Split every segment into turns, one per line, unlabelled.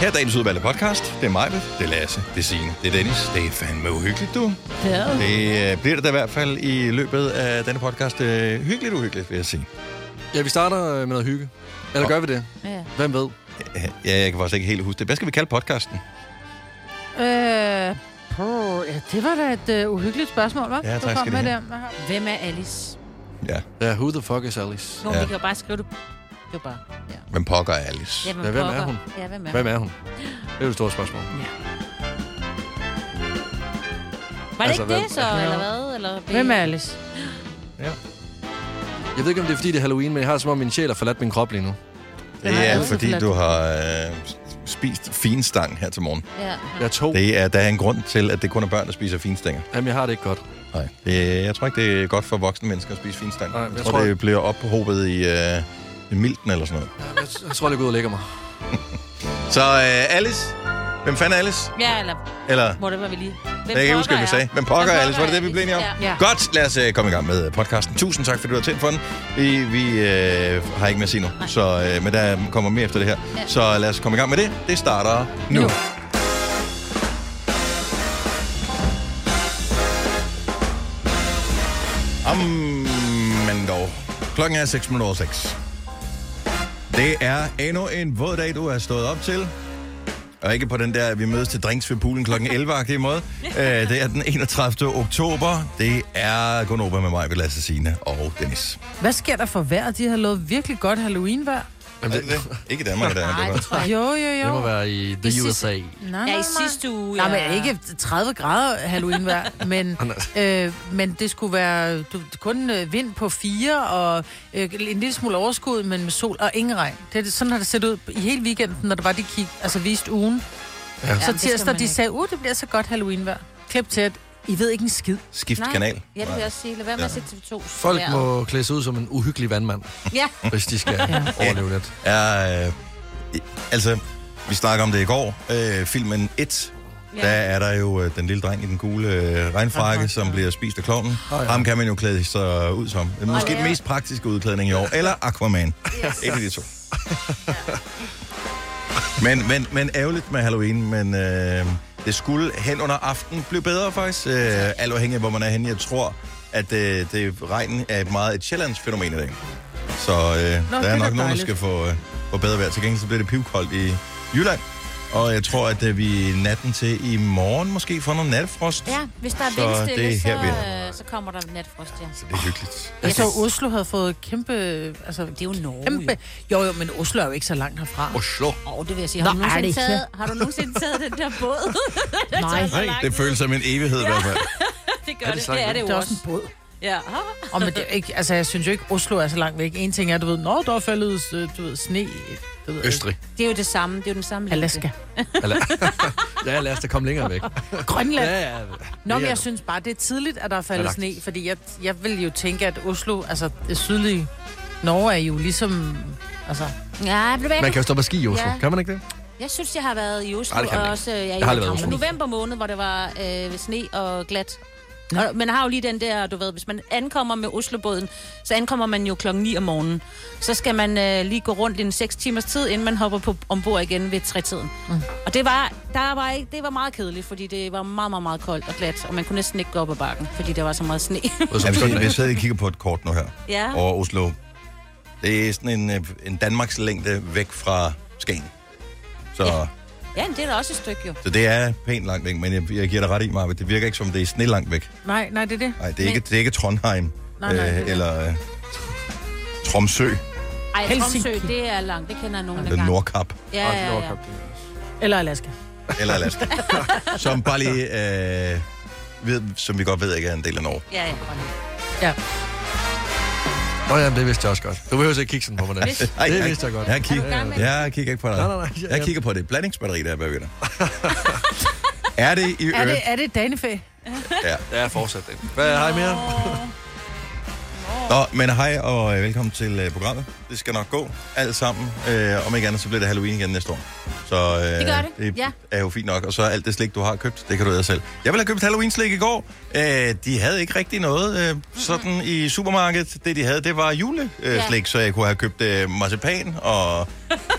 Her er dagens udvalgte podcast. Det er mig, det er Lasse, det er Signe, det er Dennis. Det er fandme uhyggeligt, du.
Ja.
Det øh, bliver det da i hvert fald i løbet af denne podcast. Øh, hyggeligt uhyggeligt, vil jeg sige.
Ja, vi starter øh, med noget hygge. Eller gør vi det?
Ja.
Hvem ved?
Øh, Ja, jeg kan faktisk ikke helt huske det. Hvad skal vi kalde podcasten?
Øh, puh, ja, det var da et uh, uhyggeligt spørgsmål, hva'?
Ja, tak
du kom
skal du
med
have.
der. Hvad har-
Hvem er Alice?
Ja,
Ja, who the fuck is Alice?
Nå,
Ja.
ja. vi kan jo bare skrive det. Det er bare... Ja.
men pokker er Alice.
men
Ja, hvem er
pokker.
hun?
Ja, hvem er
Hvem er hun? Det er et stort spørgsmål.
hun? Var det
Altså,
ikke det
hvem-
så, eller hvad? Eller
Hvem er Alice?
Jeg ved ikke, om det er, fordi det er Halloween, men jeg har som om, min sjæl har forladt min krop lige nu.
Det
Nej,
er
det er
fordi,
så
du har øh, spist finstang her til morgen.
Ja.
Jeg er to.
Det er, der er en grund til, at det kun er børn, der spiser finstænger.
Jamen, jeg har det ikke godt.
Nej. Det, jeg tror ikke, det er godt for voksne mennesker at spise finstang.
Nej,
jeg,
jeg
tror,
tror-
det bliver ophobet i, øh, i milten eller sådan noget.
Jeg, jeg tror, jeg går ud og lægger mig.
Så øh, Alice. Hvem fanden er Alice?
Ja, eller
Eller...
må det være, vi lige... Hvem
Jeg kan ikke
pokker
huske, hvad vi
er-
sagde. Hvem pokker er Alice? Var det det, vi
er
blev enige om?
Ja.
Ja.
Godt, lad os øh, komme i gang med øh, podcasten. Tusind tak, fordi du har tændt for den. Vi, vi øh, har ikke mere at sige nu, så, øh, men der kommer mere efter det her.
Ja.
Så lad os komme i gang med det. Det starter nu. nu.
Nu.
Amen dog. Klokken er 6 minutter over 6. Det er endnu en våd dag, du har stået op til. Og ikke på den der, vi mødes til drinks ved poolen kl. 11-agtige måde. Øh, det er den 31. oktober. Det er Gunnova med mig, Lasse Signe og Dennis.
Hvad sker der for vejr? De har lavet virkelig godt Halloween-vejr.
Jamen,
Er
det,
det det? Ikke i Danmark, der er
Nej,
det
det
godt.
tror jeg ikke.
Jo, jo,
det
jo.
må være i the
I sidste-
USA.
Nej,
Ja,
nej,
i sidste uge...
Nej,
ja.
men ikke 30 grader Halloween-vejr, men, øh, men det skulle være du, kun øh, vind på 4 og øh, en lille smule overskud, men med sol og ingen regn. Det, er det- sådan har det set ud i hele weekenden, når det var, de kig, altså viste ugen. Ja.
Jamen,
Så
det skal
tirsdag,
man
de
ikke.
sagde, uh, det bliver så godt Halloween-vejr. Klip til, at I ved ikke en skid.
Skift
Nej.
kanal.
Ja, det vil
Nej.
jeg også sige. Lad være med at se TV2.
Folk må klæde sig ud som en uhyggelig vandmand,
Ja.
hvis de skal overleve lidt.
er... Øh, altså, vi snakker om det i går. Øh, filmen 1, ja.
Ja.
der er der jo øh, den lille dreng i den gule øh, regnfrakke, som bliver spist af klovnen. Oh, ja. Ham kan man jo klæde sig ud som. Det er Måske
ja.
den mest praktiske udklædning i år. Eller Aquaman. Yes. Et af de to. men, men, men ærgerligt med Halloween, men... Øh, det skulle hen under aften blive bedre faktisk, øh, alt afhængig af, hvor man er henne. Jeg tror, at øh, det, regnen er et meget et Sjællands-fænomen i dag. Så øh,
det
der er nok
er da
nogen, der
dejligt.
skal få, øh, få bedre vejr. Til gengæld så bliver det pivkoldt i Jylland. Og jeg tror, at øh, vi natten til i morgen måske får noget natfrost.
ja, hvis der er
Så
vindstille,
det er
så,
her, vi
så, øh, så kommer der natfrost, ja.
Så det er hyggeligt.
Jeg
Altså-
så, Oslo havde fået kæmpe... Altså,
Det er jo Norge,
kæmpe, jo. jo, men Oslo er jo ikke så langt herfra.
Oslo.
Åh, oh, det vil jeg sige. Har,
Nå,
du
er det
nogensinde,
ikke?
taget, har du nogensinde taget den der båd? Det tager
Nej.
så lang tid.
Det føles som en evighed i hvert fald.
Det
Er
gør
det
det.
så
Det er
langt?
det
Det
jo
er også
også.
en båd.
Ja.
Og men det er ikke, altså, jeg synes jo ikke, Oslo er så langt væk. En ting er, du ved, når der er faldet øh, du ved, sne... øh, Du ved, øh,
Østrig.
Det er jo det samme. Det er jo den samme længde.
Alaska.
Eller, ja, lad os da komme længere væk.
Grønland.
Ja, ja.
Nå, men
Ja.
jeg synes bare, det er tidligt, at der er faldet
Antarktis.
sne, fordi jeg, jeg vil jo tænke, at Oslo, altså det sydlige Norge, er jo ligesom... Altså,
Ja, det
Man
jeg,
kan jo stå på ski i Oslo.
Ja.
Kan man ikke det?
jeg synes, jeg har været i Oslo.
Nej, det kan man ikke.
og også, øh, ja,
Jeg har aldrig været i
i
Oslo.
november måned, hvor det var øh, sne og glat. Og man har jo lige den der, du ved, hvis man ankommer med Oslobåden, så ankommer man jo klokken 9 om morgenen. Så skal man øh, lige gå rundt i en 6 timers tid, inden man hopper på, ombord igen ved trætiden. Mm. Og det var, der var ikke, det var meget kedeligt, fordi det var meget, meget, meget koldt og glat, og man kunne næsten ikke gå op ad bakken, fordi der var så meget sne.
Både som
Altså,
søndag.
jeg sidder og kigger på et kort nu her
ja.
over Oslo. Det er sådan en, øh, en Danmarks længde væk fra Skagen. Så, ja.
ja, men det er da også et stykke jo.
så det er pænt langt væk, men jeg, jeg giver dig ret i, Marve. Det virker ikke som, det er sne langt væk.
nej, nej, det er det.
Nej, det er, ikke, det er ikke Trondheim
Nej, nej, det er
øh,
det.
eller øh, Tromsø,
Ej,
Helsinki.
Tromsø, det er langt. Det kender jeg nogen, der
eller
gang.
Nordkap,
Ja, ja, ja.
Eller Alaska.
eller Alaska. som bare lige, øh, ved, som vi godt ved, ikke er en del af Norge.
ja, ja.
Ja.
Nå, jamen, det vidste jeg også godt. Du behøver ikke kigge sådan på mig der.
Ej,
Det
ej,
vidste jeg godt.
Jeg kigger,
Er du i gang med
jeg kigger ikke på dig.
Nej, nej, nej. Jeg-
Jeg kigger på det blandingsbatteri, der er bagved dig. er det i
Er
øvrigt?
det, er det Danefæ?
Ja.
Ja, fortsæt den. Hvad har I mere?
Nå, men hej og øh, velkommen til øh, programmet. Det skal nok gå, alt sammen. Øh, om ikke andet, så bliver det Halloween igen næste år. Så øh,
Det gør det,
det
ja.
er jo fint nok. Og så alt det slik, du har købt, det kan du æde selv. Jeg ville have købt Halloween-slik i går. Øh, de havde ikke rigtig noget øh, sådan i supermarkedet. Det, de havde, det var juleslik, øh,
Ja.
slik, så jeg kunne have købt øh, marcipan og,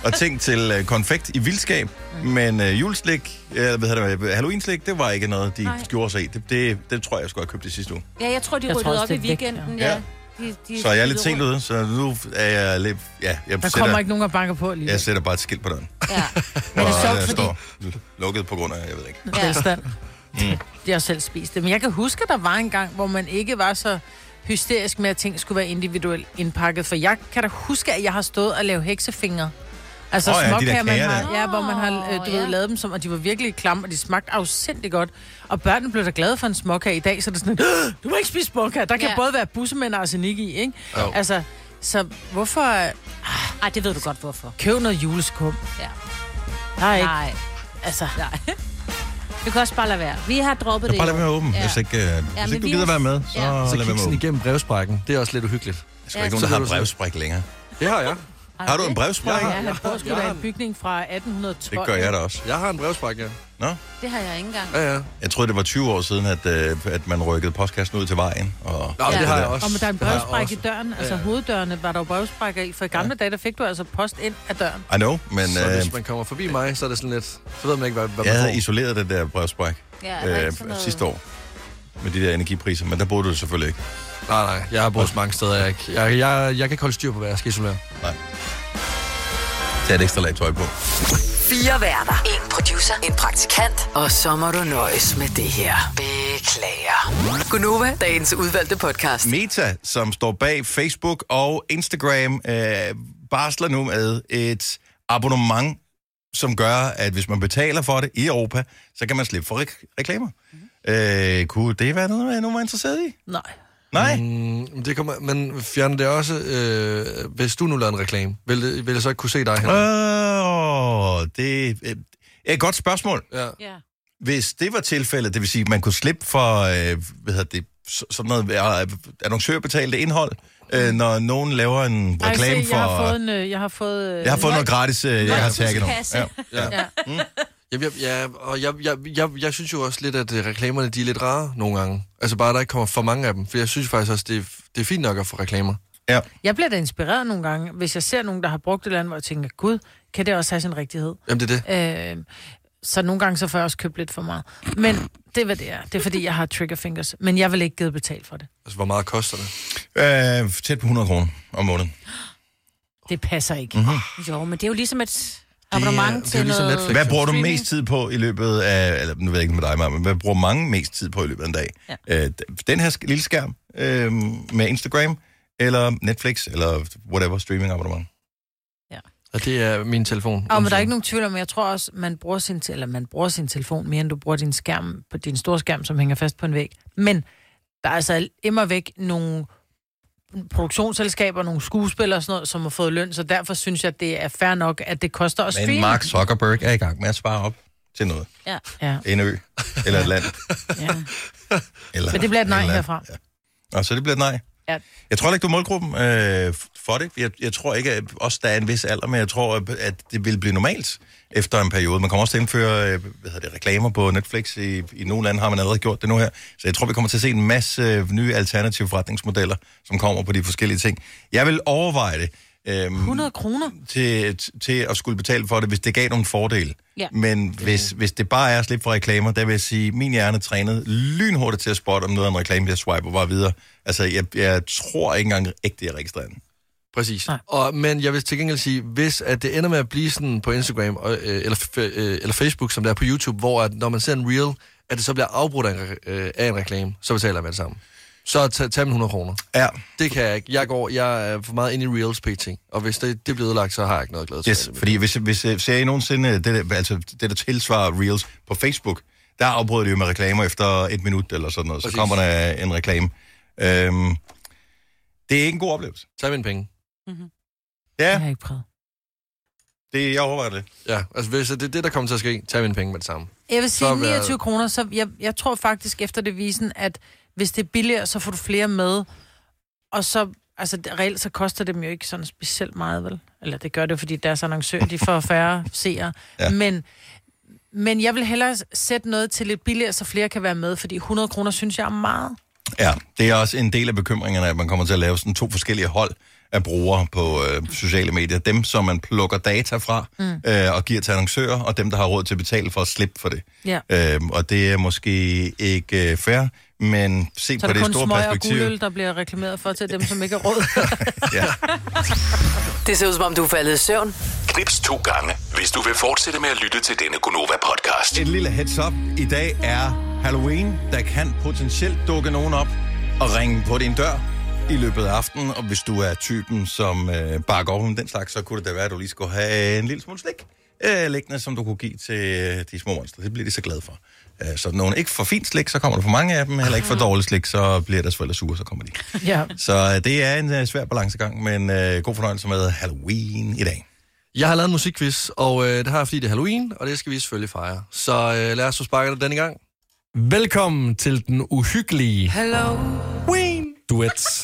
og ting til øh, konfekt i vildskab. Men øh, juleslik, øh, hvad hedder det, Halloween-slik, det var ikke noget, de
Nej.
gjorde sig i. Det, det, det tror jeg, jeg skulle have købt i sidste uge.
Ja, jeg tror, de
Jeg tror
ryddede
også,
op
det
i
er væk, ja.
weekenden.
Ja.
Ja. De, de
Så jeg er lidt
ryddede
sent
rundt.
ude, så nu er jeg lidt... Ja, jeg
Der kommer ikke nogen og banker på lige.
jeg sætter bare et skilt på døren.
Ja.
Men
det er sjovt, fordi-
lukket på grund af, jeg ved ikke.
Ja.
velstand. Mm. Jeg har selv spist det. Men jeg kan huske, at der var en gang, hvor man ikke var så hysterisk med, at ting skulle være individuelt indpakket. For jeg kan da huske, at jeg har stået og lavet heksefingre. Altså
Åh
oh,
ja, de
ja,
der
småkager, man
kager
har,
der.
ja, hvor man har øh, du
Åh,
ved,
ja.
lavet dem, som, og de var virkelig klamme, og de smagte afsindig godt. Og børnene blev da glade for en småkage i dag, så det er sådan, "Øh, du må ikke spise småkage. Der kan
Ja.
ja. både være bussemænd og arsenik i, ikke?
Jo.
Altså, så hvorfor
Ej, det ved du godt, hvorfor.
købe noget juleskum?
Ja.
Der er ikke,
Nej,
altså...
nej. Du kan også bare lade være. Vi har droppet
Så
det.
bare lad
jo.
være åben.
Ja.
Hvis ikke, øh, hvis
men
ikke du
vi
gider
må-
være med, så,
Ja.
ja.
Så
lad være
kigge
med
sådan
åben.
igennem brevsprækken. Det er også lidt uhyggeligt.
Der skal ikke
Ja,
nogen, der
så
har
ved du-
brevspræk længere.
Det har jeg.
Har du en
det?
brevspræk?
Jeg
Ja, han bor sgu
jeg
da i
har
en
en-
bygning fra 1812.
Det gør jeg da også.
Jeg har en brevsprække, ja.
Nå?
Det har jeg ikke engang.
Ja, ja.
Jeg troede, det var 20 år siden, at, øh, at man rykkede postkassen ud til vejen. Og...
Nå, ja. det har jeg
der.
også.
Og men der er en
Det har jeg
brevspræk i
også.
døren, altså
Ja.
hoveddørene var der jo brevsprækker i, for i gamle dage, der fik du altså post ind af døren.
I know, men
Så
øh,
hvis man kommer forbi mig, så er det sådan lidt... Så ved man ikke, hvad, hvad
jeg
man
havde
får.
isoleret det der brevspræk
Ja, der er
øh,
ikke sådan noget-
sidste år med de der energipriser, men der boede du det selvfølgelig ikke.
Nej, nej. Jeg har boet mange steder, jeg ikke. Jeg, jeg, jeg kan ikke holde styr på, hvad jeg skal isolere.
Nej. Tag et ekstra lag tøj på.
Fire værter. En producer. En praktikant. Og så må du nøjes med det her. Beklager. Gunova, dagens udvalgte podcast.
Meta, som står bag Facebook og Instagram, øh, barsler nu med et abonnement, som gør, at hvis man betaler for det i Europa, så kan man slippe for re- reklamer. Mm-hmm.
Mhm.
Øh, kunne det være noget, nogen var interesseret i?
Nej.
Nej?
Mm, det kommer, men fjerner det også, øh, hvis du nu lavede en reklame, vil, det, vil jeg så ikke kunne se dig her?
Øh. Åh, det øh, er et godt spørgsmål.
Ja.
Ja.
Hvis det var tilfældet, det vil sige, at man kunne slippe for øh, hvad hedder det, så- sådan noget øh, annoncørbetalte indhold, øh, når nogen laver en
Mm. Ej,
reklame
se,
for...
jeg har fået en, øh, jeg har fået... øh,
jeg har fået noget gratis, øh, jeg har tagget nogen.
Nøgleskasse.
Ja.
Jeg,
Ja.
jeg, jeg, og jeg, jeg, jeg, jeg synes jo også lidt, at øh, reklamerne de er lidt rare nogle gange. Altså bare, der ikke kommer for mange af dem. For jeg synes faktisk også, det er, det er fint nok at få reklamer.
Ja.
Jeg bliver da inspireret nogle gange, hvis jeg ser nogen, der har brugt et eller andet, hvor jeg tænker, gud, kan det også have sin rigtighed?
Jamen det er det.
Øh, så nogle gange så får jeg også købt lidt for meget. Men det er, hvad det er. Det er, fordi jeg har trigger fingers. Men jeg vil ikke give betalt for det.
Altså, hvor meget koster det?
Øh, tæt på 100 kroner om måneden.
Det passer ikke.
Mhm.
Mm-hmm.
Jo, men det er jo ligesom et abonnement
det er
til
jo ligesom
noget...
Netflix.
Hvad bruger du
Streaming.
mest tid på i løbet af, eller nu ved jeg ikke med dig, Maja, men hvad bruger mange mest tid på i løbet af en dag?
Ja.
Øh, d- den her sk- lille skærm øh, med Instagram, eller Netflix, eller whatever streaming abonnement.
Og det er min telefon.
Og men der er ikke nogen tvivl om, jeg tror også, man bruger sin, te- eller man bruger sin telefon mere, end du bruger din skærm, på din store skærm, som hænger fast på en væg. Men der er altså immer væk nogle produktionsselskaber, nogle skuespillere og sådan noget, som har fået løn, så derfor synes jeg, det er fair nok, at det koster at streame.
Men Mark Zuckerberg er i gang med at spare op til noget.
Ja.
Ja,
En ø, eller et land.
ja.
Eller
Men det bliver et
eller
nej
andet.
herfra.
Ja. Og så det bliver et nej.
Ja.
Jeg tror heller ikke, du er målgruppen øh, f- for det. Jeg, jeg tror ikke, at også der er en vis alder, men jeg tror, at- at det vil blive normalt efter en periode. Man kommer også til at indføre øh, hvad hedder det, reklamer på Netflix. I, I nogle lande har man allerede gjort det nu her. Så jeg tror, vi kommer til at se en masse øh, nye alternative forretningsmodeller, som kommer på de forskellige ting. Jeg vil overveje det. Øhm,
100 kroner.
til, til at skulle betale for det, hvis det gav nogle fordele.
Ja.
Men hvis, hvis det bare er at slippe for reklamer, der vil jeg sige, min hjerne er trænet lynhurtigt til at spotte, om noget er en reklame, jeg swiper bare videre. Altså, jeg, jeg tror ikke engang ægte, jeg registrerer den.
Præcis.
Nej.
Og, men jeg vil til gengæld sige, hvis at det ender med at blive sådan på Instagram og, øh, eller, f- øh, eller Facebook, som det er på YouTube, hvor at, når man ser en reel, at det så bliver afbrudt af en, re- øh, af en reklame, så betaler jeg med det samme. Så tag, tag min 100 kroner.
Ja,
Det kan jeg ikke. Jeg, går, jeg er for meget inde i reels pt. Og hvis det, det bliver ødelagt, så har jeg ikke noget glæde til.
yes, fordi hvis, hvis øh, ser I nogensinde øh, det, der- altså, det, der tilsvarer Reels på Facebook, der afbryder de jo med reklamer efter et minut eller sådan noget, så
Præcis.
kommer der en reklame. Øhm, det er ikke en god oplevelse.
Tag mine penge.
Jeg
Ja,
har ikke prøvet.
det, jeg overvejer det.
Ja, altså hvis det er det, der kommer til at ske, tag mine penge med det samme.
Jeg vil sige
Så vil jeg-
29 kroner, så jeg, jeg tror faktisk efter devisen, at hvis det er billigere, så får du flere med, og så altså det- reelt så koster det dem jo ikke sådan specielt meget, vel? Eller det gør det jo, fordi deres annoncør, de får færre seere. Ja. Men, men jeg vil hellere sætte noget til lidt billigere, så flere kan være med, fordi 100 kroner synes jeg er meget.
Ja, det er også en del af bekymringerne, at man kommer til at lave sådan to forskellige hold af brugere på øh, sociale medier. Dem, som man plukker data fra
Mm.
mm. øh, og giver til annoncører, og dem, der har råd til at betale for at slippe for det.
Ja.
Øhm, og det er måske ikke øh, fair, men se
Så er
på
det
det
kun
store
smøg og
perspektiv.
guldøl, der bliver reklameret for til dem, som ikke har råd.
Det ser ud som om, du er faldet i søvn.
Knips to gange, hvis du vil fortsætte med at lytte til denne Gonova-podcast.
Et lille heads up. I dag er Halloween. Der kan potentielt dukke nogen op og ringe på din dør i løbet af aftenen. Og hvis du er typen, som øh, bakker over om den slags, så kunne det da være, at du lige skulle have en lille smule slik øh, liggende, som du kunne give til øh, de små monster. Det bliver de så glade for. Øh, så nogen ikke for fint slik, så kommer der for mange af dem. Heller ikke for dårligt slik, så bliver deres forældre sure, så kommer de.
ja.
Så øh, det er en øh, svær balancegang, men øh, god fornøjelse med Halloween i dag.
Jeg har lavet en musikquiz, og øh, det har jeg, fordi det er Halloween, og det skal vi selvfølgelig fejre. Så øh, lad os få sparket denne gang.
Velkommen til den uhyggelige
Hello.
Ween. duet.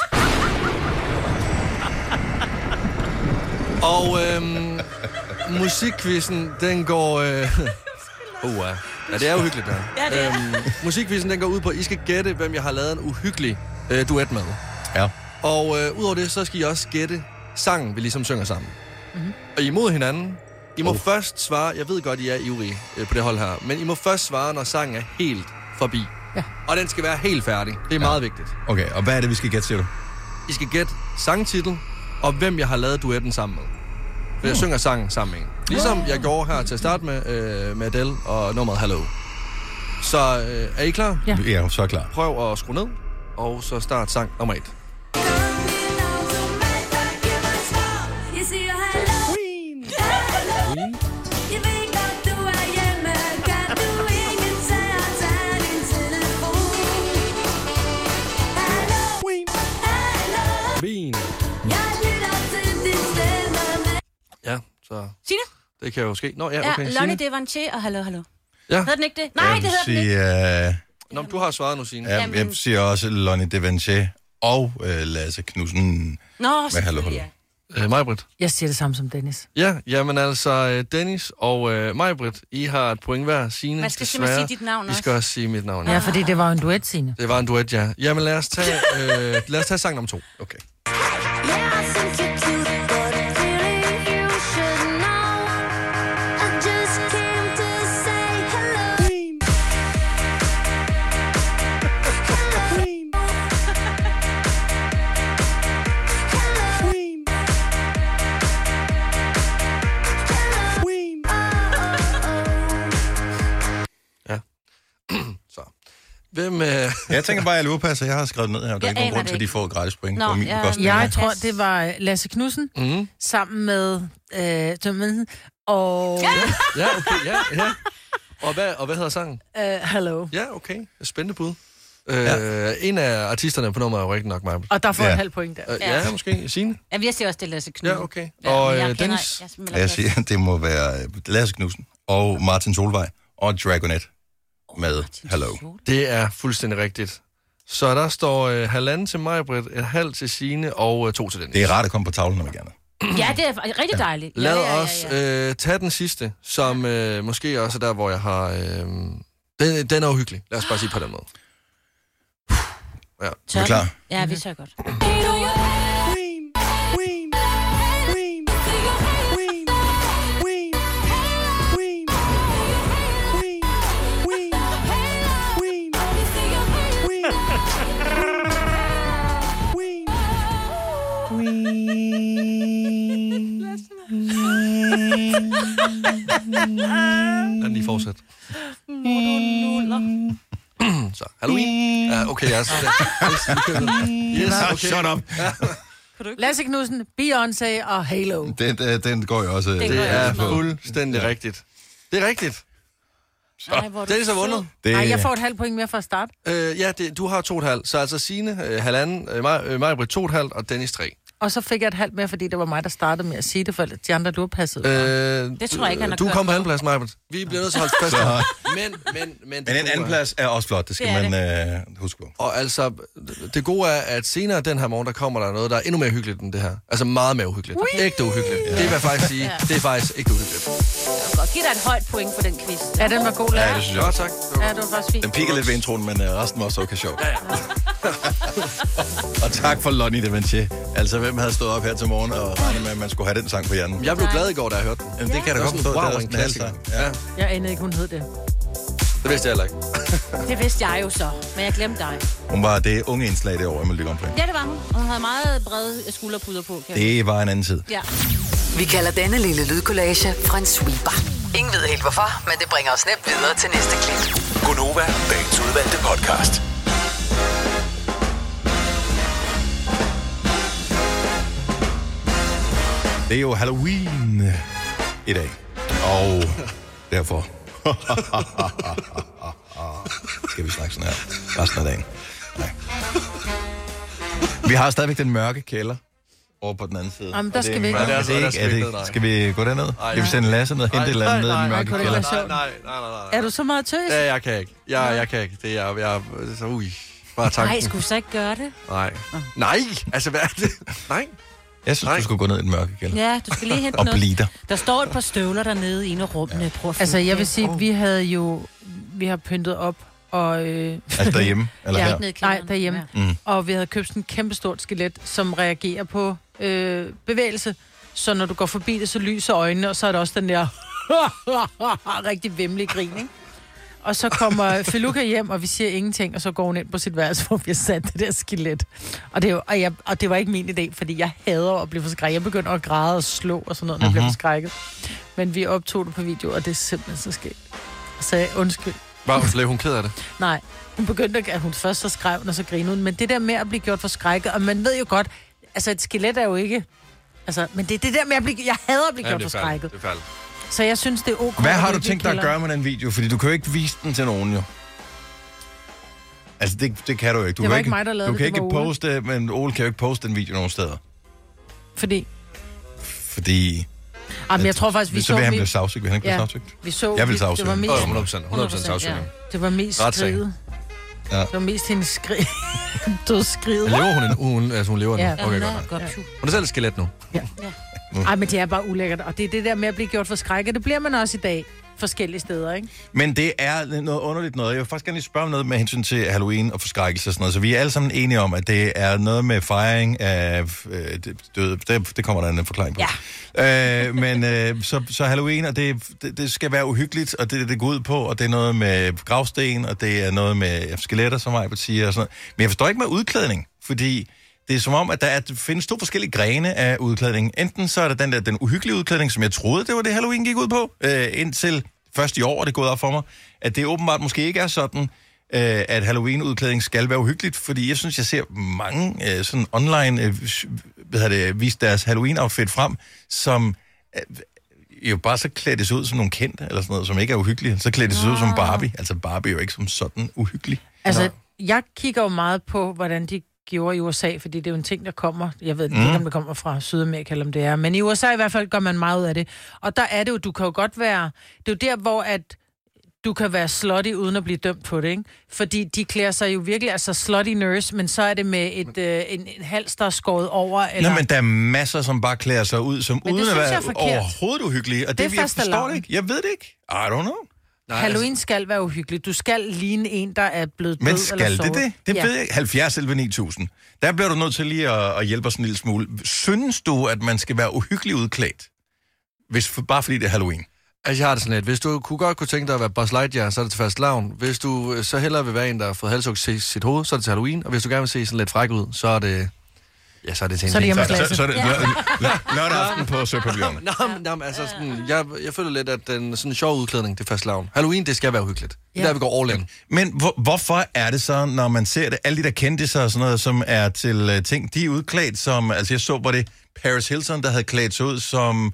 Og øhm, musikquizzen, den går... Øh, uh, ja. ja, det er uhyggeligt, der.
Ja, det er.
Øhm, musikquizzen, den går ud på, at I skal gætte, hvem jeg har lavet en uhyggelig øh, duet med.
Ja.
Og øh, udover det, så skal I også gætte sangen, vi ligesom synger sammen.
Mhm.
Mhm.
Mm-hmm. Og I er mod hinanden. I må oh. først svare... Jeg ved godt, I er ivrige øh, på det hold her. Men I må først svare, når sangen er helt forbi. Ja. Og den skal være helt færdig. Det er ja. meget vigtigt.
Okay, og hvad er det, vi skal gætte, siger du?
I skal gætte sangtitel og hvem jeg har lavet duetten sammen med. For
Hmm.
jeg synger sangen sammen med en. Ligesom jeg gjorde her til at starte med, øh, med Adele og nummeret Hello. Så øh, er I klar?
Ja.
Ja, så er jeg klar.
Prøv at skrue ned, og så start sang nummer et.
Jeg siger hallo. Hello. Jeg ved godt, du er hjemme. Kan du ikke tage og tage din telefon? Hallo. Hallo.
Ween.
Jeg lytter til din stemme, men-
Ja, så
Signe?
det kan jo ske. Nå, ja,
Ja,
okay.
Lonnie Devanché og Hallo Hallo.
Ja.
Hedder den ikke det? Nej, det hedder den ikke.
siger, øh,
Nå, men du har svaret nu, Signe.
Ja, øh, jeg siger også Lonnie Devanché og øh, Lasse Knudsen.
Nå,
Hvad hallo, hallo.
Øh, Majbrit.
Jeg siger det samme som Dennis.
Ja, jamen altså, øh, Dennis og øh, Majbrit, I har et point hver. Signe,
Man skal simpelthen
desværre.
sige dit navn
I skal
også.
også sige mit navn.
Ja, fordi det var jo en duet, Signe.
Det var en duet, ja. Jamen lad os tage, øh, lad os tage sang nummer to.
Okay.
Yeah, I think you're cute, but really you should know. I just came to say hello.
Hvem, øh,
Jeg tænker bare, at jeg lurer på, så jeg har skrevet ned her. Der er
Jeg
ikke nogen
aner
grund
det
til, at de
ikke.
får gratis point
Nå,
på min
ja.
kostning.
Jeg
her.
tror, det var øh, Lasse Knudsen
mm,
sammen med øh, Tom Jensen og
ja, okay, ja, ja. Og hvad, og hvad hedder sangen?
øh, Hello.
Ja, okay. Spændende bud. Øh, En af artisterne på nummeret er jo rigtig nok mig.
Og der får ja.
Ja.
en halv point der.
Øh,
Ja.
ja. ja, måske. Signe?
Jamen, jeg siger også, det er Lasse Knud.
Ja, okay.
Ja, men
Og øh,
jeg kender-
Dennis?
jeg
Og
smelter
Jeg
plads.
siger, det må være øh, Lasse Knudsen og Martin Solvej og Dragonette med Hello.
Det er fuldstændig rigtigt. Så der står øh, halvanden til Majbrit, en halv til Signe og øh, to til Dennis.
Det er rart at komme på tavlen, når man gerne.
Ja, det er rigtig dejligt. Ja,
Lad
ja, ja, ja.
os øh, tage den sidste, som øh, måske også er der, hvor jeg har... Øh, den, den er uhyggelig. Lad os bare sige på den måde. Ja.
Er
Tør
du klar?
den? Ja, vi tør godt.
Lad den lige fortsætte. Så, Halloween. Ja, okay, jeg er sådan. Yes, okay.
Shut up!
Lasse Knudsen, Beyoncé og Halo.
Den, den, den går jo også. øh,
går
Det
jeg
er
også med.
fuldstændig rigtigt. Det er rigtigt.
Ej, hvor er du
Dennis har
sød.
vundet.
Det,
Nej, jeg får et halvt point mere fra start.
Øh, ja, det, du har to og et halvt. Så altså Signe, øh, halvanden, øh, Maj, øh, Majbrit to og et halvt, og Dennis tre.
og så fik jeg et halvt mere, fordi det var mig, der startede med at sige det, for de andre lurpassede. Øh,
Øh,
Det tror jeg ikke, han har
Du
kørt
kom på anden plads, Majbert. Vi bliver nødt til at holde fast.
Så-
men, men, men,
Men en anden plads er også flot, det skal
Det er
det man øh, huske på.
Og altså, det gode er, at senere den her morgen, der kommer der noget, der er endnu mere hyggeligt end det her. Altså meget mere uhyggeligt. Ægte uhyggeligt. Det vil jeg faktisk sige. Det er faktisk ægte uhyggeligt.
Godt, giv dig et højt point for den quiz.
ja, den var god,
Ja,
lærer.
det synes jeg.
Ja,
også.
tak.
Ja, det var faktisk
Den
fint.
pikker lidt ved introen, men øh, resten var også okay sjov. og tak for Lonnie Devanché. Altså, hvem havde stået op her til morgen og regnet med, at man skulle have den sang på hjernen?
Jeg blev glad i går, da jeg hørte den.
Jamen, det kan
Det
da
er
godt
sådan,
forstå.
wow,
det er også
en
en halvsang.
klassiker.
Ja.
Ja.
Jeg anede ikke, hun hed det.
Det vidste jeg heller ikke.
Det vidste jeg jo så, men jeg glemte dig.
Hun var det unge indslag det år i Melodi Grand Prix.
Ja, det var hun. Hun havde meget brede skulderpuder på. Kan jeg-
Det var en anden tid.
Ja.
Vi kalder denne lille lydkollage en sweeper. Ingen ved helt hvorfor, men det bringer os nemt videre til næste klip.
Gunova, dagens udvalgte podcast.
Det er jo Halloween øh, i dag. Og derfor... Skal vi snakke sådan her resten af dagen? Nej. Vi har stadigvæk den mørke kælder over på den anden side.
Jamen, der
Og det er
skal vi ikke.
mørkt.
Ja,
Er
det er altså så- der
det ikke-
skal
er
vi ikke ned, nej.
det ikke- Skal vi gå derned? Skal vi sende Lasse ned og hente et eller andet ned i den mørke
nej,
kælder?
nej, nej, nej,
nej, nej.
Er du så meget tøs?
Ja, jeg kan ikke. Jeg, jeg kan ikke. Det er jeg, jeg, så, ui. Bare
Nej,
tanken.
skulle vi så ikke gøre det?
Nej. Nej. Altså, hvad er det? Nej.
Jeg synes, du skulle gå ned i den mørke kælder.
Ja, du skal lige hente
Og
noget.
blive der.
Der står et par støvler dernede i en af rummene. Ja. Prøv at
Altså,
finde
jeg
dem.
vil sige, vi havde jo... Vi har pyntet op, og... Øh,
Altså derhjemme? Eller
Ja.
her?
Ned i
nej,
kælderen.
derhjemme.
Ja.
Mm. Og vi havde købt sådan et kæmpestort skelet, som reagerer på øh, bevægelse. Så når du går forbi det, så lyser øjnene, og så er der også den der... rigtig vemmelig grin, ikke? Og så kommer Feluca hjem, og vi siger ingenting, og så går hun ind på sit værelse, hvor vi har sat det der skelet. Og det, er jo, og, jeg, og det var ikke min idé, fordi jeg hader at blive forskrækket. Jeg begynder at græde og slå og sådan noget, når jeg
Mhm.
bliver forskrækket. Men vi optog det på video, og det er simpelthen så sket. Og sagde, undskyld.
Bare blev hun ked af det.
Nej, hun begyndte at, at hun først så skrev, og så grinede hun. Men det der med at blive gjort for skrækket, og man ved jo godt, altså et skelet er jo ikke... Altså, men det er det der med at blive... Jeg hader at blive gjort for skrækket.
er færdigt.
Så jeg synes, det er ok.
Hvad
at
har
vi
du
ikke
tænkt dig at
kælder-
gøre med den video? Fordi du kan jo ikke vise den til nogen, jo. Altså, det, det kan du jo ikke. Du
Det var
kan
ikke mig, der lavede
Du
det,
kan
det
ikke
var Ole.
poste, men Ole kan jo ikke poste den video nogen steder.
Fordi...
Fordi...
Jamen, jeg tror faktisk, vi
så... Så vil han blive
så...
sagsøgt. Vil han ikke blive
Ja.
sagsøgt?
Vi så
Jeg vil
det, det
sagsøge
var
hende.
mest,
100%. 100% sagsøgning.
det var mest
Retssagen.
skriget.
Ja.
Ja. Det var mest hendes skrig. Dødskriget.
Lever hun en ugen? Altså, hun lever
Ja.
nu. Okay, godt nok.
Godt, pju.
Hun er selv et skelet nu.
Mm.
Ej, men det er bare ulækkert. Og det er det der med at blive gjort for skrækket. Det bliver man også i dag forskellige steder, ikke?
Men det er noget underligt noget. Jeg vil faktisk gerne lige spørge om noget med hensyn til Halloween og forskrækkelse og sådan noget. Så vi er alle sammen enige om, at det er noget med fejring af øh, det- døde. Det, det kommer der en forklaring på. Ja. Øh, men øh, så, så Halloween, og det, det, det skal være uhyggeligt, og det er det, det går ud på, og det er noget med gravsten, og det er noget med skeletter, som jeg siger, og sådan noget. Men jeg forstår ikke med udklædning, fordi det er som om, at der er, findes to forskellige grene af udklædning. Enten så er der den der den uhyggelige udklædning, som jeg troede, det var det Halloween gik ud på, øh, indtil først i år er det gået op for mig, at det åbenbart måske ikke er sådan, øh, at Halloween-udklædning skal være uhyggeligt, fordi jeg synes, jeg ser mange øh, sådan online øh, s- hvad hedder det, vise deres Halloween-outfit frem, som øh, jo bare så klædes ud som nogle kendte, eller sådan noget, som ikke er uhyggelige. Så klædes ud
Ah.
som Barbie. Altså Barbie er jo ikke som sådan uhyggelig.
Altså, jeg kigger jo meget på, hvordan de gjorde i USA, fordi det er jo en ting, der kommer. Jeg ved
Mm.
ikke, om det kommer fra Sydamerika, eller om det er. Men i USA i hvert fald gør man meget ud af det. Og der er det jo, du kan jo godt være... Det er jo der, hvor at du kan være slutty uden at blive dømt på det, ikke? Fordi de klæder sig jo virkelig, altså slutty nurse, men så er det med et, øh, en, en hals, der er skåret over,
Nå,
eller...
men altså- der er masser, som bare klæder sig ud, som
Men det
uden at
synes
være
jeg er forkert.
overhovedet uhyggelige. Og det,
Det er
det jeg forstår
fastelavn.
det ikke. Jeg ved det ikke. I don't know.
Nej,
Halloween skal være uhyggelig. Du skal ligne en, der er blevet død
Men
eller
skal det
såret.
det? Det ved jeg ikke. 70 11 9000. Der bliver du nødt til lige at, at hjælpe os en lille smule. Synes du, at man skal være uhyggelig udklædt? Hvis, for, bare fordi det er Halloween.
Altså, jeg har det sådan lidt. Hvis du kunne godt kunne tænke dig at være Buzz Lightyear, så er det til fast lavn. Hvis du øh, så hellere vil være en, der har fået halshug til sit hoved, så er det til Halloween. Og hvis du gerne vil se sådan lidt fræk ud, så er det... Ja, så er det til en
Så er det
ting.
hjemme-
Så, så, så er det lø- lørdag aften på Søpavillonen.
Nå, men, nå, men altså sådan, jeg, jeg føler lidt, at den sådan sjov udklædning, det er fast lavn. Halloween, det skal være uhyggeligt. Det er
Ja.
der, vi går all in.
Men hvor, hvorfor er det så, når man ser det, alle de der kendte sig og sådan noget, som er til uh, ting, de er udklædt som, altså jeg så, var det Paris Hilton, der havde klædt sig ud som,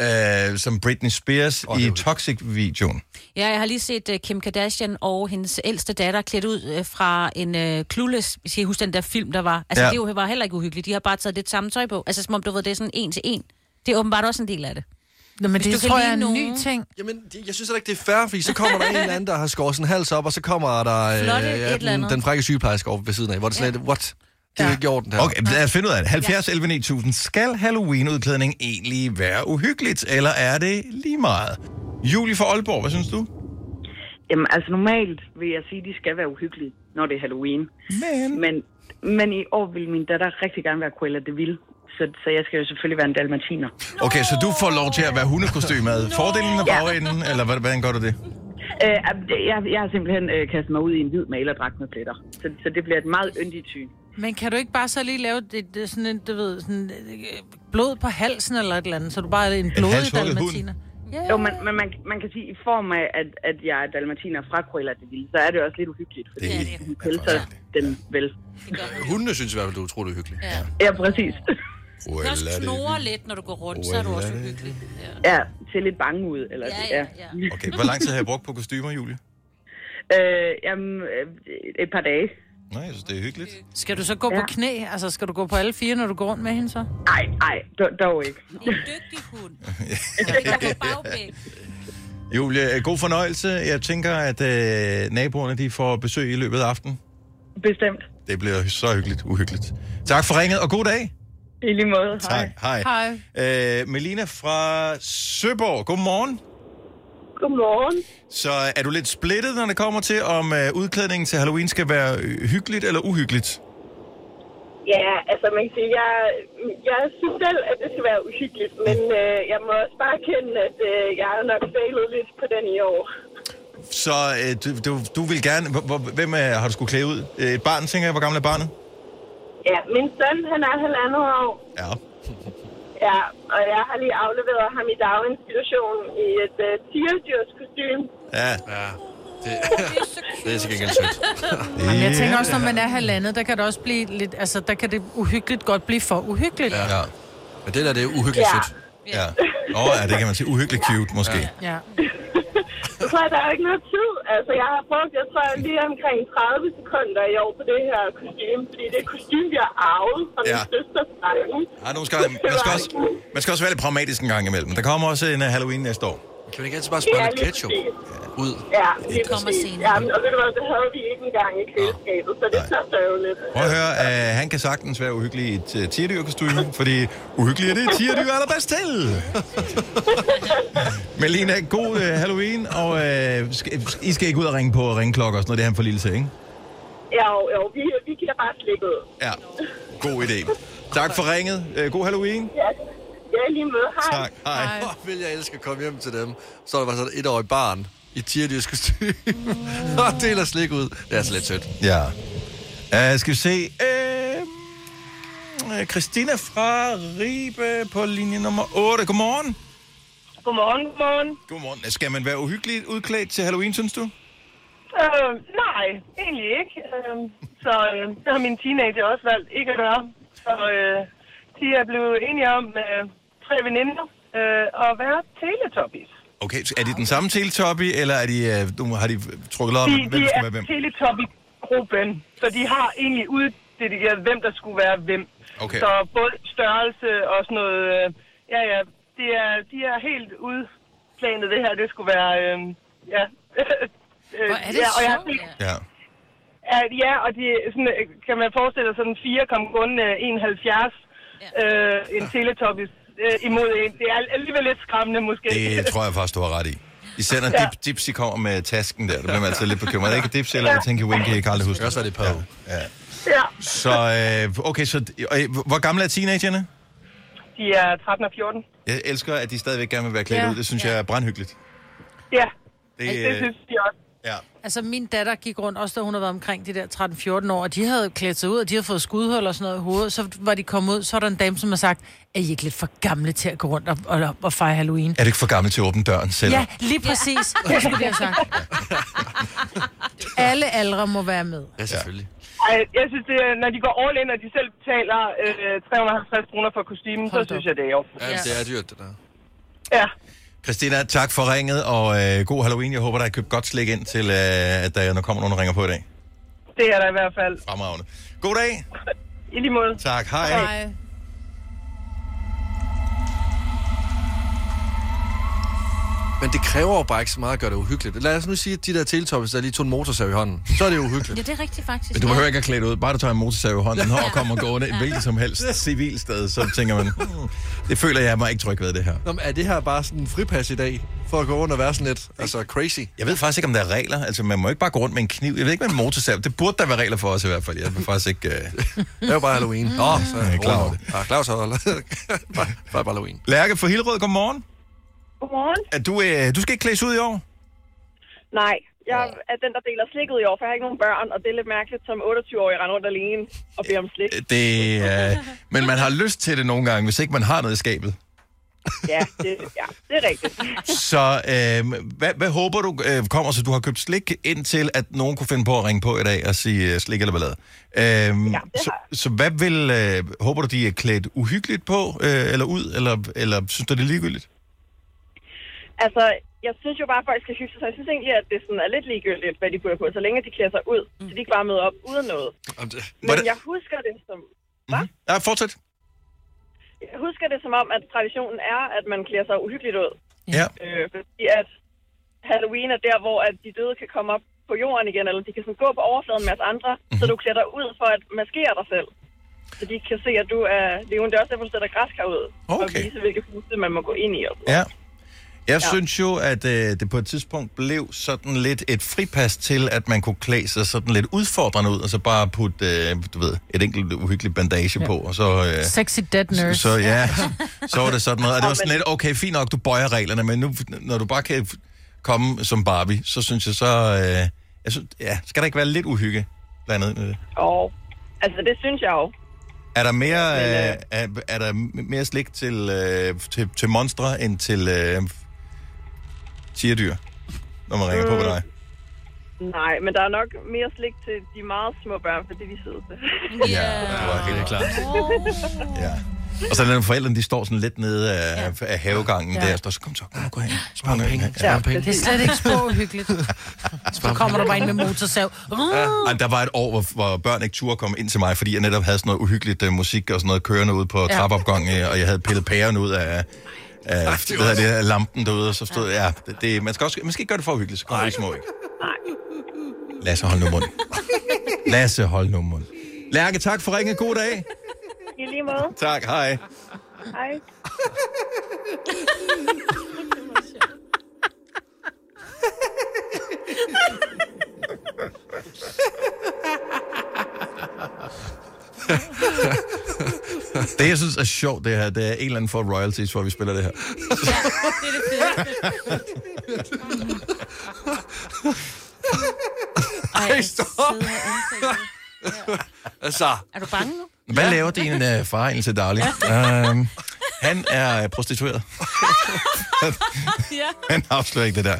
øh, som Britney Spears oh, i Toxic-videoen.
Ja, jeg har lige set uh, Kim Kardashian og hendes ældste datter klædt ud uh, fra en uh, Clueless, hvis I husker den der film, der var. Altså,
Ja.
ja. det er jo- var heller ikke uhyggeligt. De har bare taget det samme tøj på. Altså, som om du ved, det er sådan en til en. Det er åbenbart også en del af det.
Nå, men
Hvis
det
du kan
tror jeg
lide
er en
nogen-
ny ting.
Jamen, det, jeg synes heller ikke, det er fair, fordi så kommer der en eller anden, der har skåret sin hals op, og så kommer der øh,
Flotte et
ja,
eller
den,
andet.
den frække sygeplejerske over ved siden af, hvor det slet, what? Det er ikke i orden, det her.
Okay, lad os finde ud af det. 70 11 9000. Skal Halloween-udklædning egentlig være uhyggeligt, eller er det lige meget? Julie fra Aalborg, hvad synes du?
Jamen, altså normalt vil jeg sige, at de skal være uhyggelige, når det er Halloween.
Men...
Men, men i år vil min datter rigtig gerne være Cruella de Vil. Så, så jeg skal jo selvfølgelig være en dalmatiner.
Okay, så du får lov til at være hundekostymet. Fordelen og bagenden, eller hvad- hvordan gør du det?
Øh, jeg, jeg har simpelthen øh, kastet mig ud i en hvid malerdragt med pletter. Så, så det bliver et meget yndigt syn.
Men kan du ikke bare så lige lave det, det sådan en, du ved, sådan øh, blod på halsen eller et eller andet, så du bare er en blodig
halshugget hund.
dalmatiner?
Jo, men, men man, man kan sige, i form af, at, at jeg er dalmatiner fra Cruella de Vil, så er det jo også lidt uhyggeligt, fordi
Det er det.
hun pelser den vel.
Hundene synes i hvert fald, du er utrolig hyggelig. Ja.
Ja, præcis.
Først
Cruella de
snorer
Vil.
lidt, når du går rundt, så er du også
Uella.
uhyggelig. Ja.
Ja, ser lidt bange ud. Eller,
Ja, ja, ja.
Okay, hvor lang tid har jeg brugt på kostymer, Julie?
Øh, jamen, øh, et par dage.
Nej, jeg synes, det er hyggeligt.
Skal du så gå på
Ja.
knæ? Altså, skal du gå på alle fire, når du går rundt med hende så?
Ej, ej, dog- dog ikke.
En dygtig hund. Den går på bagbæk.
Julie, øh, god fornøjelse. Jeg tænker, at øh, naboerne de får besøg i løbet af aftenen.
Bestemt.
Det bliver så hyggeligt, uhyggeligt. Tak for ringet, og god dag.
I lige måde. Hej.
Tak. Hej.
Hej.
Øh, Melina fra Søborg, godmorgen.
Godmorgen.
Så er du lidt splittet, når det kommer til, om øh, udklædningen til Halloween skal være øh, hyggeligt eller uhyggeligt?
Ja, altså man kan sige, jeg, jeg synes selv, at det skal være uhyggeligt, men øh, jeg må også bare erkende, at øh, jeg har nok failet lidt på den i år.
Så øh, du, du, du vil gerne... Hvor, hvor, hvem øh, har du skulle klæde ud? Øh, Et barn, tænker jeg. Hvor gammel er barnet?
Ja, min søn, han er halvandet år,
Ja.
ja, og jeg har lige afleveret ham i daginstitutionen i et øh, tigerdyrskostyme.
Ja.
Det, det er til gengæld sødt.
Men jeg tænker
Ja.
også, når man er halvandet, der kan det også blive lidt, altså, der kan det uhyggeligt godt blive for uhyggeligt. Ja.
Ja. Men det der, det er uhyggeligt
Ja.
sødt.
ja. Åh, oh, ja, det kan man sige. Uhyggeligt cute, måske. Ja.
ja.
Så er der jo ikke noget tid. Altså, jeg har brugt, jeg tror, lige omkring 30 sekunder i år på det her kostume, fordi det er et kostume, vi har arvet fra min
Ja.
søsters drenge.
Ej, nu skal, man, skal også, man skal også være lidt pragmatisk en gang imellem. Der kommer også en øh, Halloween næste år.
Kan man ikke
altså
altid bare
Det
spørge
er
lidt
lige
ketchup
præcis.
ud?
Ja,
Det kommer
præcis.
senere.
Ja, men, og ved du hvad, det havde vi ikke engang i køleskabet, så det
Nej.
er så sørgeligt.
Prøv at høre, øh, han kan sagtens være uhyggelig i et øh, tierdyrkostyme, fordi uhyggelig er det tierdyr er der bedst til. Melina, god øh, Halloween, og øh, skal, I skal ikke ud og ringe på ringklokker og sådan noget, det er han for lille til, ikke?
Ja, jo, jo, vi, vi kan bare slippe ud.
Ja, god idé. Tak for ringet. Øh, god Halloween.
Ja, ja lige med. Hej.
Tak. Hej.
Hvor vil jeg elske at komme hjem til dem. Så er der bare sådan et år i barn i tierdyrskostyme
Mm.
og deler slik ud. Det er altså lidt sødt.
Ja. Uh, skal vi se. Øh, øh, Christina fra Ribe på linje nummer 8. Godmorgen.
Godmorgen, godmorgen.
Godmorgen. Skal man være uhyggeligt udklædt til Halloween, synes du?
Øh, nej, egentlig ikke. Øh, så øh, det har min teenager også valgt ikke at gøre. Så øh, de er blevet enige om øh, tre veninder øh, at være teletoppies.
Okay, så er de den samme teletoppi, eller er de, øh, nu har de trukket op,
De,
hvem
de
der skal
er
være hvem?
teletoppi-gruppen, så de har egentlig uddelegeret, hvem der skulle være hvem.
Okay.
Så både størrelse og sådan noget. Øh, ja, ja, det er, de er helt udplanet det her. Det skulle være, øh, ja. Øh,
Hvor er det
ja, og jeg har
sjovt,
set,
ja.
Ja.
At, ja, og de, sådan, øh, kan man forestille sig sådan fire kom kun øh, 71 øh, en teletopis øh, imod en. Det er alligevel lidt skræmmende måske.
Det øh, tror jeg faktisk, du har ret i. Især når ja. Dip, Dipsy kommer med tasken der, der bliver man altså lidt bekymret. Er det ikke Dipsy eller Tinky Winky, jeg kan aldrig huske.
Jeg så er det på.
Ja. ja.
ja,
Så, øh, okay, så, og, øh, hvor gamle er teenagerne?
de er 13 og 14.
Jeg elsker, at de stadigvæk gerne vil være klædt ja.
Ja.
ud. Det synes ja. jeg er brandhyggeligt.
Ja,
Det,
det, det
øh,
synes de også.
ja.
Altså, min datter gik rundt, også da hun havde været omkring de der 13-14 år, og de havde klædt sig ud, og de havde fået skudhuller og sådan noget i hovedet. Så var de kommet ud, så var der en dame, som har sagt, er I ikke lidt for gamle til at gå rundt og, og, og fejre Halloween?
Er du ikke for gammel til at åbne døren selv?
Ja, lige præcis. Det skulle de have sagt. Alle aldre må være med.
Ja, selvfølgelig.
Ej, jeg synes, det, er- når de går all in, og de selv betaler øh, 350 kroner for kostymen, så
Hold da
synes
op.
jeg, det er jo.
Ja, ja. det er dyrt, det der.
Ja.
Christina, tak for ringet, og øh, god Halloween. Jeg håber, der er købt godt slik ind til, øh, at der når kommer nogen, der ringer på i dag.
Det er der i hvert fald.
Fremragende. God dag.
I lige måde.
Tak, hej. hej.
Men det kræver jo bare ikke så meget at gøre det uhyggeligt. Lad os nu sige, at de der teletoppes, der lige tog en motorsav i hånden, så er det jo uhyggeligt.
Ja, det er rigtigt faktisk.
Men du behøver ikke at klæde det ud. Bare du tager en motorsav i hånden
Ja.
og kommer gående et hvilket som helst civilsted, så tænker man, hmm, det føler jeg mig ikke tryg ved det her.
Nå, men er det her bare sådan en fripas i dag, for at gå rundt og være sådan lidt, altså crazy?
Jeg ved faktisk ikke, om der er regler. Altså, man må ikke bare gå rundt med en kniv. Jeg ved ikke, med en motorsav. Det burde der være regler for os i hvert fald. Jeg er faktisk ikke... Uh...
Det er jo bare Halloween. Åh,
Mm.
oh, så er
Jeg er
jeg
klar
klar
over
det. Ja, Claus har bare, bare Halloween.
Lærke fra Hillerød, godmorgen.
Godmorgen.
Er du, øh, du skal ikke klædes ud i år?
Nej, jeg er den, der deler slikket i år, for jeg har ikke nogen børn, og det er lidt mærkeligt som 28-årig render rundt alene og beder om slik.
Det, øh, men man har lyst til det nogle gange, hvis ikke man har noget i skabet.
Ja, det, ja, det er rigtigt.
Så øh, hvad, hvad håber du øh, kommer, så du har købt slik, indtil at nogen kunne finde på at ringe på i dag og sige øh, slik eller ballade? Øh, ja, så, så hvad vil, øh, håber du, de er klædt uhyggeligt på, øh, eller ud, eller, eller synes du, det er ligegyldigt?
Altså, jeg synes jo bare, at folk skal hygge sig, så jeg synes egentlig, at det sådan er lidt ligegyldigt, hvad de putter på, så længe de klæder sig ud, så de ikke bare møder op uden noget. Men
Hvordan-
jeg husker det som,
Mhm. Ja, fortsæt.
jeg husker det som om, at traditionen er, at man klæder sig uhyggeligt ud.
Ja.
Øh, fordi at Halloween er der, hvor at de døde kan komme op på jorden igen, eller de kan sådan gå på overfladen med os andre,
Mhm.
så du klæder dig ud for at maskere dig selv. Så de kan se, at du er levende. Det er også derfor, du sætter græskar ud. Og
Okay.
vise, hvilke huse man må gå ind i. Og sådan.
Ja. Jeg ja.
Ja.
synes jo, at øh, det på et tidspunkt blev sådan lidt et fripas til, at man kunne klæde sig sådan lidt udfordrende ud, og så bare putte, øh, du ved, et enkelt uhyggeligt bandage ja. på, og så... Øh,
Sexy dead nurse.
Så ja, så var det sådan noget. Og det var sådan lidt, okay, fint nok, du bøjer reglerne, men nu, når du bare kan komme som Barbie, så synes jeg så... Øh, jeg synes, ja, skal der ikke være lidt uhygge blandet med det?
Og altså, det synes jeg jo.
Er der mere, øh, er, er der mere slik til, øh, til, til monstre end til øh, tierdyr, når man ringer mm. på på dig?
Nej, men der er nok mere slik til de meget små børn, fordi de sidder til.
Ja, det var helt klart.
Åh.
Ja. Og så er der forældrene, de står sådan lidt nede af, af havegangen Øh. ja. der, og står, så kom så, kom, nu, gå hen. Spar nogle penge.
Spar nogle
Det
penge.
er slet ikke spå hyggeligt. Så kommer du bare ind med motorsav.
Ej, der var et år, hvor, hvor børn ikke turde komme ind til mig, fordi jeg netop havde sådan noget uhyggeligt uh, musik og sådan noget kørende ude på ja. trappeopgangen, øh, og jeg havde pillet pæren ud af, af Ej, det hvad hedder det, lampen derude, og så stod ja, det, det, man, skal også, man skal ikke gøre det for uhyggeligt, så kommer de små ikke. Lasse, hold nu mund. Lasse, hold nu mund. Lærke, tak for ringet. God dag.
I lige måde.
Tak, hej.
Hej.
Det, jeg synes er sjovt, det her, det er en eller anden for royalties, hvor vi spiller det her.
Det er det fedeste. Ej, jeg sidder og ansigtet.
Altså,
Er du bange nu?
Hvad laver din uh, far egentlig til Darling? Uh, han er øh, prostitueret.
Ja.
Han afslører ikke det der.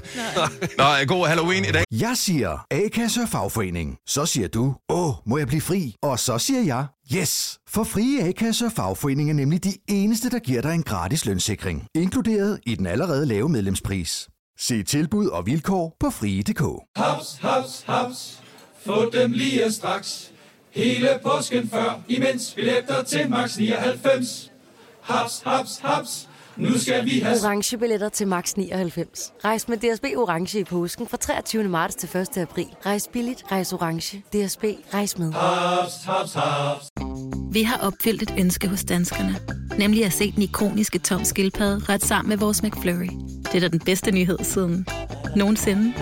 Nej. Nå, øh, god Halloween i dag.
Jeg siger A-kasse og fagforening. Så siger du, åh, må jeg blive fri? Og så siger jeg, yes! For frie A-kasse og fagforening er nemlig de eneste, der giver dig en gratis lønssikring. Inkluderet i den allerede lave medlemspris. Se tilbud og vilkår på frie.dk.
Haps, haps, haps. Få dem lige straks. Hele påsken før, imens billetter til max 99. Haps, haps, haps. Nu skal vi have...
orange billetter til max 99. Rejs med DSB orange i påsken fra 23. marts til 1. april. Rejs billigt, rejs orange. DSB rejs med.
Haps, haps, haps.
Vi har opfyldt et ønske hos danskerne. Nemlig at se den ikoniske tom skildpadde ret sammen med vores McFlurry. Det er da den bedste nyhed siden nogensinde.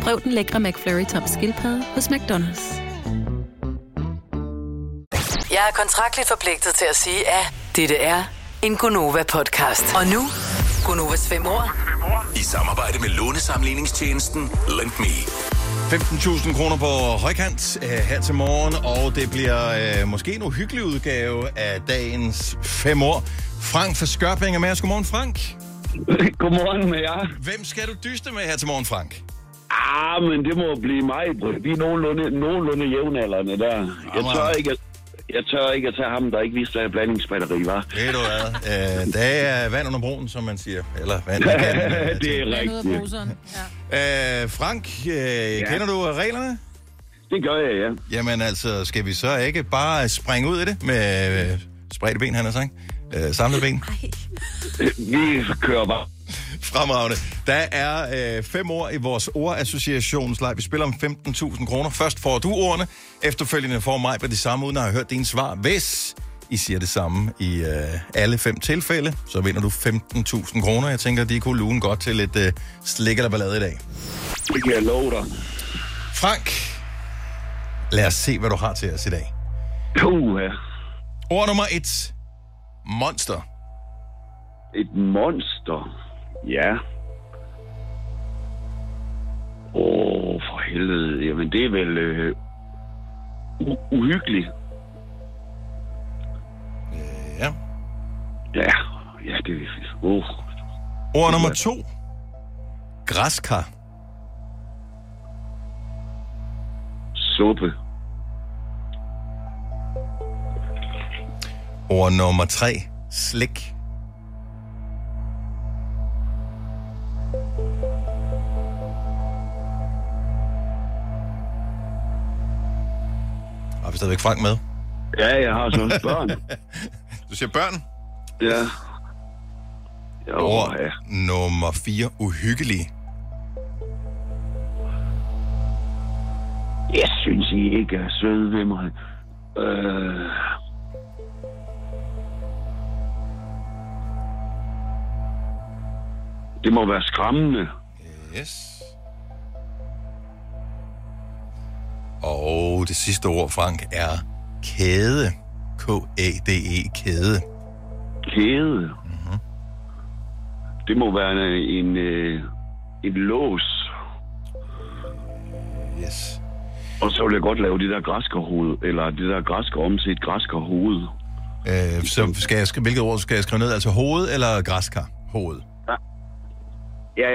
Prøv den lækre McFlurry tom skildpadde hos McDonald's.
Jeg er kontraktligt forpligtet til at sige, at dette er en Gunova-podcast. Og nu, Gunovas fem år.
I samarbejde med lånesamligningstjenesten Lend Me.
15.000 kroner på højkant øh, her til morgen, og det bliver øh, måske en uhyggelig udgave af dagens fem år. Frank fra Skørping er med os. Godmorgen, Frank.
Godmorgen med jer.
Hvem skal du dyste med her til morgen, Frank?
Ah, men det må blive mig. Britt. Vi er nogenlunde, nogenlunde jævnaldrende der. Jeg
Jamen.
tør ikke at, jeg tør ikke at tage ham, der ikke vidste, hvad et blandingsbatteri var.
Ved du hvad? Øh, der er vand under broen, som man øh, siger. Eller vand i kanten.
Ja, det er rigtigt.
Øh, Frank, øh, ja. kender du reglerne?
Det gør jeg,
ja. Jamen altså, skal vi så ikke bare springe ud i det med øh, spredte ben, han har sagt? Øh, samlet ben?
Vi kører bare.
Fremragende. Der er øh, fem ord i vores ordassociationsleg. Vi spiller om 15.000 kroner. Først får du ordene. Efterfølgende får mig på det samme, uden at have hørt dine svar. Hvis I siger det samme i øh, alle fem tilfælde, så vinder du 15.000 kroner. Jeg tænker, de kunne lune godt til lidt øh, slik eller ballade i dag.
Det kan jeg love dig.
Frank, lad os se, hvad du har til os i dag.
Uh,
Ord nummer et. Monster.
et monster. Ja. Åh, oh, for helvede. Jamen, det er vel øh, u- uhyggeligt.
Øh, Ja.
Ja, ja, det er... Uh.
Ord nummer to. Græskar.
Suppe.
Ord nummer tre. Slik. Har vi stadigvæk Frank med?
Ja, jeg har sådan børn.
du siger børn?
Ja.
Jo, Ord ja. nummer 4. Uhyggelige.
Jeg synes, I ikke er søde ved mig. Øh, det må være skræmmende.
Yes. Og det sidste ord, Frank, er kæde. K-A-D-E, kæde.
Kæde. Mm-hmm. Det må være en, en, øh, en lås.
Yes.
Og så vil jeg godt lave det der græskerhoved, eller det der græsker om til et græskerhoved.
Øh, så skal jeg, sk- hvilket ord skal jeg skrive ned? Altså hoved eller græskar? Hoved.
Ja,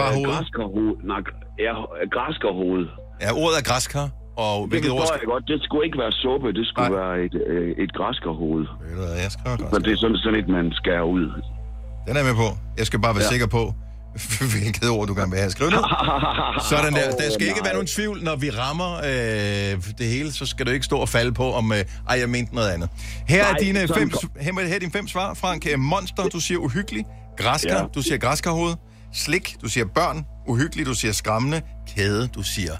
Bare hovedet?
græskerhoved. Nej, gr- ja, græskerhoved.
Ja, ordet er græskar, og
Det
hvilket ord
forstår
skal...
jeg godt. Det skulle ikke være suppe, det skulle Nej. være et, øh, et græskerhoved.
Ved du hvad, jeg skriver
Så det er sådan, sådan et, man skærer ud.
Den er jeg med på. Jeg skal bare være ja.
Ja.
sikker på, hvilket ord du gerne vil have skrevet ned. Sådan der. Der skal ikke være nogen tvivl, når vi rammer øh, det hele, så skal du ikke stå og falde på, om øh, ej, jeg mente noget andet. Her er
Nej,
dine
sådan
fem,
kom-
her, her er dine fem svar, Frank. Øh, Monster, du siger uhyggelig. Græsker,
Ja.
ja. du siger græskerhoved. Slik, du siger børn. Uhyggelig, du siger skræmmende. Kæde, du siger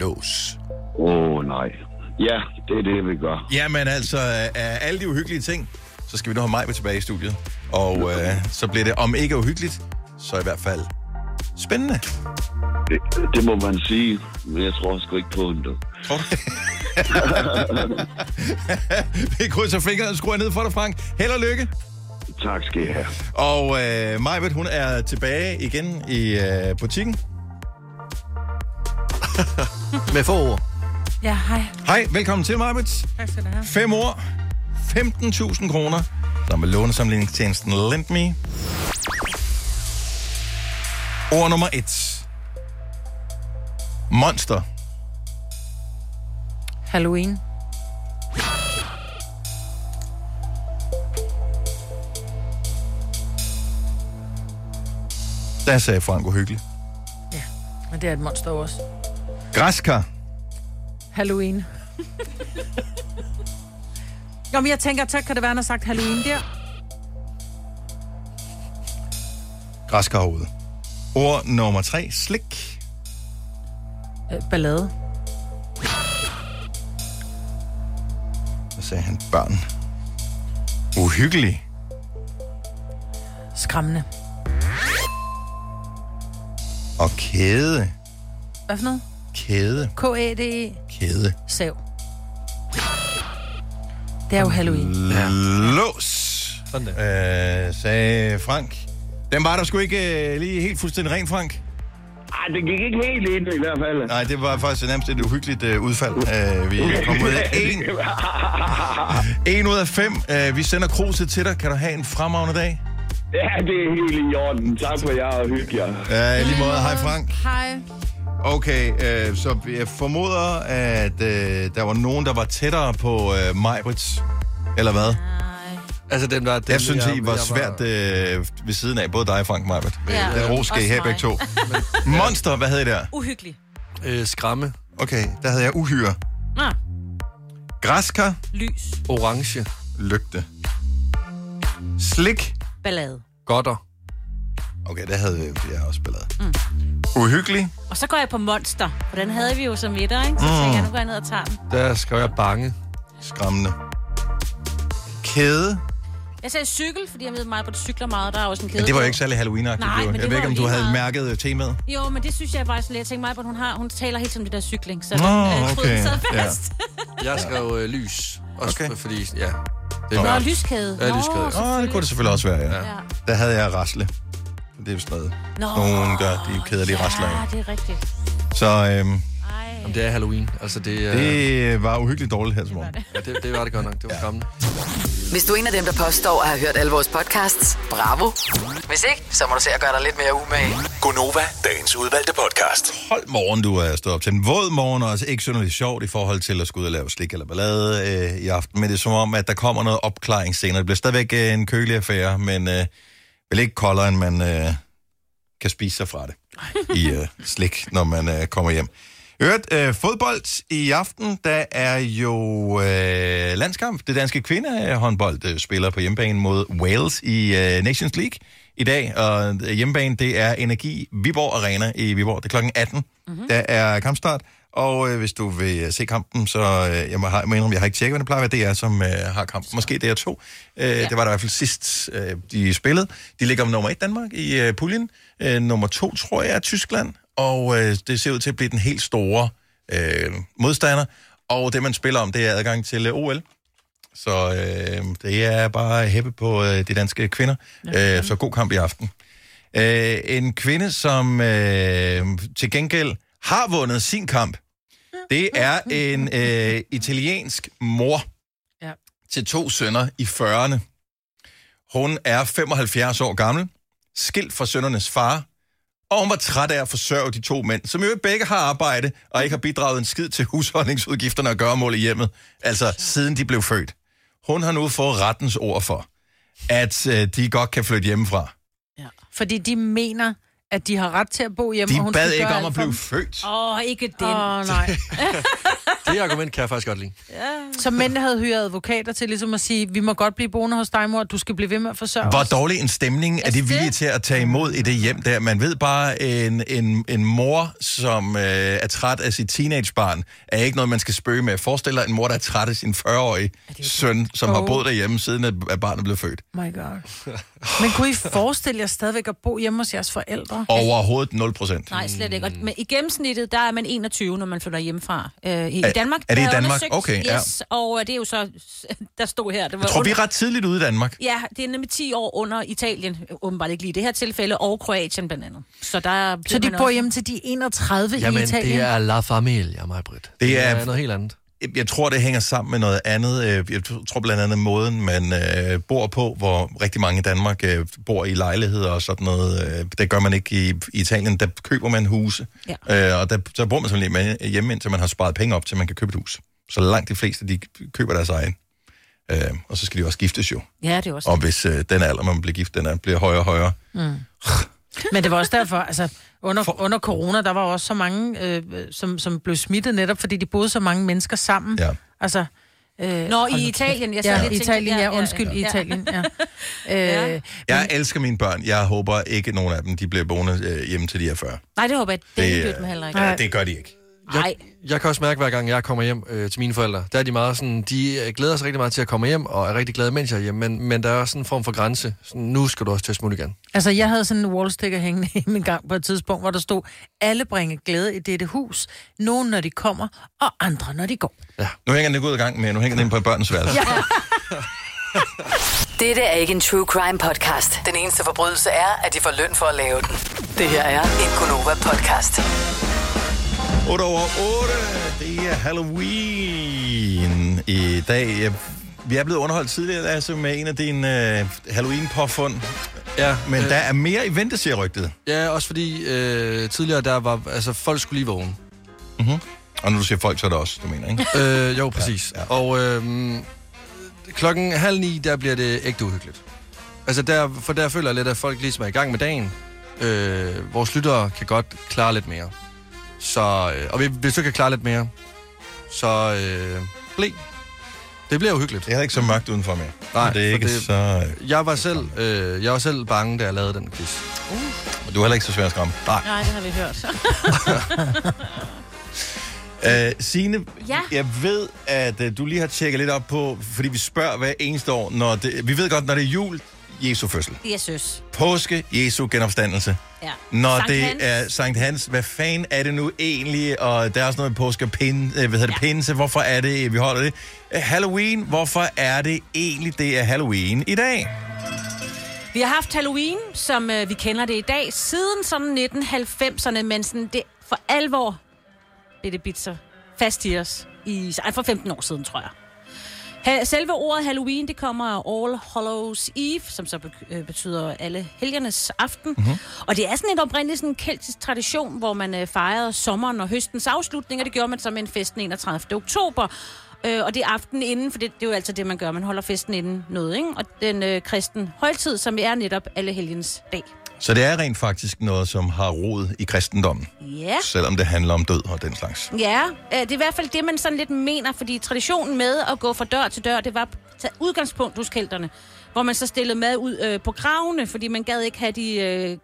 lås.
Åh, oh, nej. Ja, det er det, vi gør.
Jamen altså, øh, af alle de uhyggelige ting, så skal vi nu have mig tilbage i studiet. Og øh, så bliver det, om ikke uhyggeligt, så i hvert fald spændende.
Det, det må man sige, men jeg tror sgu ikke på det.
Tror du Vi krydser fingrene og skruer ned for dig, Frank. Held og lykke.
Tak skal I have.
Og øh, Majbet, hun er tilbage igen i øh, butikken. Med få ord.
Ja, hej.
Hej, velkommen til, Majbet.
Tak skal du have.
Fem ord, 15.000 kroner, som er lånesamlingstjenesten LendMe. Ord nummer et. Monster.
Halloween.
Der sagde Frank uhyggelig.
Men det er et monster også.
Græskar.
Halloween. Nå, men jeg tænker, så kan det være, han har sagt Halloween der.
Græskarhoved. Ord nummer tre. Slik.
Øh, ballade.
Hvad sagde han? Børn. Uhyggelig.
Skræmmende.
Og kæde.
Hvad for noget?
Kæde.
K-A-D-E.
Kæde.
Sav. Det er jo Halloween.
Ja. Lås. Sådan der. Øh, sagde Frank. Den var der sgu ikke øh, lige helt fuldstændig ren, Frank.
Nej, det gik ikke helt ind i hvert fald.
Nej, det var faktisk nærmest et uhyggeligt øh, udfald. Øh, vi kom ud af en. En ud af fem. Øh, vi sender kruset til dig. Kan du have en fremragende dag?
Ja, det er helt i orden. Tak for jer og hygge jer.
Ja, i lige måde. Hej, Frank.
Hej.
Okay, øh, så jeg formoder, at øh, der var nogen, der var tættere på øh, Majbrits, eller hvad?
Altså, den var... Den,
jeg synes,
jeg-
I var
jeg
svært øh, ved siden af, både dig og Frank Majbrit.
Ja.
Den ros skal I
Også
have
mig.
begge to. Monster, hvad hed det der?
Uhyggelig.
Øh, skræmme.
Okay, der havde jeg uhyre.
Nå,
Græskar.
lys,
Orange.
Lygte. Slik.
ballade.
Godter.
Okay, der havde jeg også ballade.
Mm.
Uhyggelig.
Og så går jeg på Monster, for den havde vi jo som etter, ikke? Så
Mm.
tænker jeg, nu går jeg ned og tager den.
Der skrev jeg bange.
Skræmmende. Kæde.
Jeg sagde cykel, fordi jeg ved meget, på det cykler meget, der er også en kæde.
Men det var
på.
jo ikke særlig halloween-agtigt.
Nej,
det var-
men det
jeg ved
var
ikke, om
jo
du
lige
havde
meget.
mærket øh, temaet.
Jo, men det synes jeg faktisk, lidt. jeg tænkte mig, at hun har, hun taler helt som det der cykling, så
Nå,
den øh, tråd,
okay,
den sad
ja.
fast.
Jeg skrev øh, lys. Også okay. fordi, ja.
Nå,
mørkt.
lyskæde.
Ja,
Nå,
lyskæde.
Åh, oh, det kunne det selvfølgelig også være, ja.
Ja.
ja. Der havde jeg rasle. Det er jo sådan noget,
Nå,
nogen gør, de kedelige ja. rasler
Ja,
af.
Ah, det er rigtigt.
Så øhm,
Jamen, det er Halloween. Altså, det, øh,
det var uhyggeligt dårligt her til morgen.
Ja, det, det var det godt nok. Det var skræmmende.
Hvis du er en af dem, der påstår at have hørt alle vores podcasts, bravo. Hvis ikke, så må du se at gøre dig lidt mere umage.
Gonova, dagens udvalgte podcast.
Hold morgen, du er stået op til en våd morgen, og altså ikke synderligt sjovt i forhold til at skulle ud og lave slik eller ballade øh, i aften. Men det er som om, at der kommer noget opklaring senere. Det bliver stadigvæk øh, en kølig affære, men øh, vel ikke koldere, end man øh, kan spise sig fra det i øh, slik, når man øh, kommer hjem. Hørt øh, fodbold i aften, der er jo øh, landskamp. Det danske kvindehåndbold øh, spiller på hjemmebane mod Wales i øh, Nations League i dag. Og øh, hjemmebane, det er Energi Viborg Arena i Viborg. Det er klokken 18. Mm-hmm. Der er kampstart. Og øh, hvis du vil øh, se kampen, så øh, jeg må, har- jeg må indrømme, jeg har ikke tjekket, hvad det plejer at være DR, som øh, har kampen. Måske DR2. Øh, ja. Det var der i hvert fald sidst, øh, de spillede. De ligger om nummer 1 Danmark i øh, puljen. Øh, nummer 2, tror jeg, er Tyskland. Og øh, det ser ud til at blive den helt store øh, modstander. Og det, man spiller om, det er adgang til øh, OL. Så øh, det er bare hæppe på øh, de danske kvinder. Ja, øh, så god kamp i aften. Øh, en kvinde, som øh, til gengæld har vundet sin kamp, det er en øh, italiensk mor
Ja.
til to sønner i 40'erne. Hun er 75 år gammel, skilt fra sønnernes far, og hun var træt af at forsørge de to mænd, som jo begge har arbejde og ikke har bidraget en skid til husholdningsudgifterne og gøremål i hjemmet, altså siden de blev født. Hun har nu fået rettens ord for, at øh, de godt kan flytte hjemmefra.
Fordi de mener, at de har ret til at bo hjemme.
De
og hun
bad
skal
ikke
gøre
om
alt
at
for
blive
dem.
født.
Åh, oh, ikke den.
Åh, oh, nej.
Det argument kan jeg faktisk godt lide.
Så mændene havde hyret advokater til ligesom at sige, vi må godt blive boende hos dig, mor, du skal blive ved med at forsørge
Hvor
os."
dårlig en stemning er de villige til at tage imod i det hjem der? Man ved bare, en, en, en mor, som øh, er træt af sit teenagebarn, er ikke noget, man skal spøge med. Forestil dig en mor, der er træt af sin 40-årige søn, som har
Åh.
boet derhjemme, siden at at barnet blev født.
My God. Men kunne I forestille jer stadigvæk at bo hjemme hos jeres forældre?
Overhovedet 0 procent.
Altså- Nej, slet ikke. Og,
Mm.
men i gennemsnittet, der er man 21, når man flytter hjemmefra. Øh, i,
Er-
I Danmark.
er det i
Der
Danmark?
undersøgt,
Okay, ja.
yes, Og øh, det er jo så, der stod her. Det var
Jeg tror, vi er
under-
ret tidligt ude i Danmark.
Ja, det er nemlig 10 år under Italien, åbenbart ikke lige i det her tilfælde, og Kroatien blandt andet. Så, der
Så de bor hjemme til de er 31 i Italien?
La Familia, mig, Britt. Det er noget helt andet.
Jeg tror, det hænger sammen med noget andet. Øh, Jeg tror blandt andet måden, man øh, bor på, hvor rigtig mange i Danmark øh, bor i lejligheder og sådan noget. Øh, det gør man ikke i, i Italien. Der køber man huse, ja. øh, og der, så bor man simpelthen hjemme- hjemme, indtil man har sparet penge op, til man kan købe et hus. Så langt de fleste, de køber deres egen. Øh, og så skal de jo også giftes jo.
Ja, det er også.
Og hvis øh, den alder, man bliver gift, den er, bliver højere og højere.
Mm. Men det var også derfor, altså under, For... under corona, der var også så mange, øh, som, som blev smittet netop, fordi de boede så mange mennesker sammen.
Ja.
Altså, øh,
Nå,
hold nu
i
kæft.
Italien. Jeg sad
ja,
lidt og tænkte,
Italien,
ja,
ja,
ja,
undskyld,
ja.
Italien, ja. Øh,
Jeg elsker mine børn. Jeg håber ikke, nogen af dem de bliver boende øh, hjemme til de er 40.
Nej, det håber jeg, det,
Det,
det
øh,
dem heller ikke.
Ja, det gør de ikke.
Nej.
Jeg kan også mærke, hver gang jeg kommer hjem øh, til mine forældre, der er de meget sådan, de øh, glæder sig rigtig meget til at komme hjem, og er rigtig glade, mens jeg er hjemme, men, men der er også en form for grænse. Sådan, nu skal du også til at smutte igen.
Altså, jeg havde sådan en wallsticker hængende i min gang på et tidspunkt, hvor der stod, alle bringer glæde i dette hus. Nogen, når de kommer, og andre, når de går.
Ja. Nu hænger den ikke ud af gang mere. Nu hænger den ind på et børnens værelse.
Ja.
Dette er ikke en true crime podcast. Den eneste forbrydelse er, at de får løn for at lave den. Det her er en Gunova-podcast.
8 over 8, det er Halloween i dag. Jeg, vi er blevet underholdt tidligere, Lasse, med en af dine øh, Halloween-påfund.
Ja,
Men der er mere i vente, siger rygtet.
Ja, også fordi øh, tidligere der var, altså folk skulle lige vågne.
Mm-hmm. Og når du siger folk, så er det også, du mener, ikke?
øh, jo, præcis. Ja, ja. Og øh, klokken halv ni, der bliver det ægte uhyggeligt. Altså, der, for der føler jeg lidt, at folk ligesom er i gang med dagen. Øh, vores lyttere kan godt klare lidt mere. Så, øh, og hvis du kan klare lidt mere, så øh, blæ. Det bliver uhyggeligt.
Det er ikke så mørkt udenfor mere.
Nej,
det er ikke det... så...
Jeg var, selv, øh, jeg var selv bange, da jeg lavede den quiz.
Uh.
Og du er heller ikke så svær at skræmme.
Nej.
Nej, det har vi hørt.
Øh, Signe,
Ja.
ja. jeg ved, at øh, du lige har tjekket lidt op på, fordi vi spørger hver eneste år, når det, vi ved godt, når det er jul, Jesu fødsel.
Jesus.
Påske, Jesu genopstandelse.
Ja.
Når
Sankt
det
Hans.
er Sankt Hans, hvad fanden er det nu egentlig? Og der er også noget med påske og pin, øh, hvad hedder det, pinse, hvorfor er det, vi holder det? Øh, Halloween, hvorfor er det egentlig, det er Halloween i dag?
Vi har haft Halloween, som øh, vi kender det i dag, siden sådan 1990'erne, men sådan det for alvor blev det bidt sig fast i os i, ej, for 15 år siden, tror jeg. Ha- Selve ordet Halloween, det kommer af All Hallows Eve, som så be- øh, betyder alle helgernes aften.
Mhm.
Mm-hmm. Og det er sådan en oprindelig sådan keltisk tradition, hvor man øh, fejrede sommeren og høstens afslutning, og det gjorde man så med en fest den 31. oktober. Øh, og det er aftenen inden, for det, det er jo altid det, man gør. Man holder festen inden noget, ikke? Og den øh, kristen højtid, som er netop alle helgens dag.
Så det er rent faktisk noget, som har rod i kristendommen.
Ja.
Selvom det handler om død og den slags.
Ja, øh, det er i hvert fald det, man sådan lidt mener, fordi traditionen med at gå fra dør til dør, det var at tage udgangspunkt hos kælderne, hvor man så stillede mad ud øh, på gravene, fordi man gad ikke have de øh,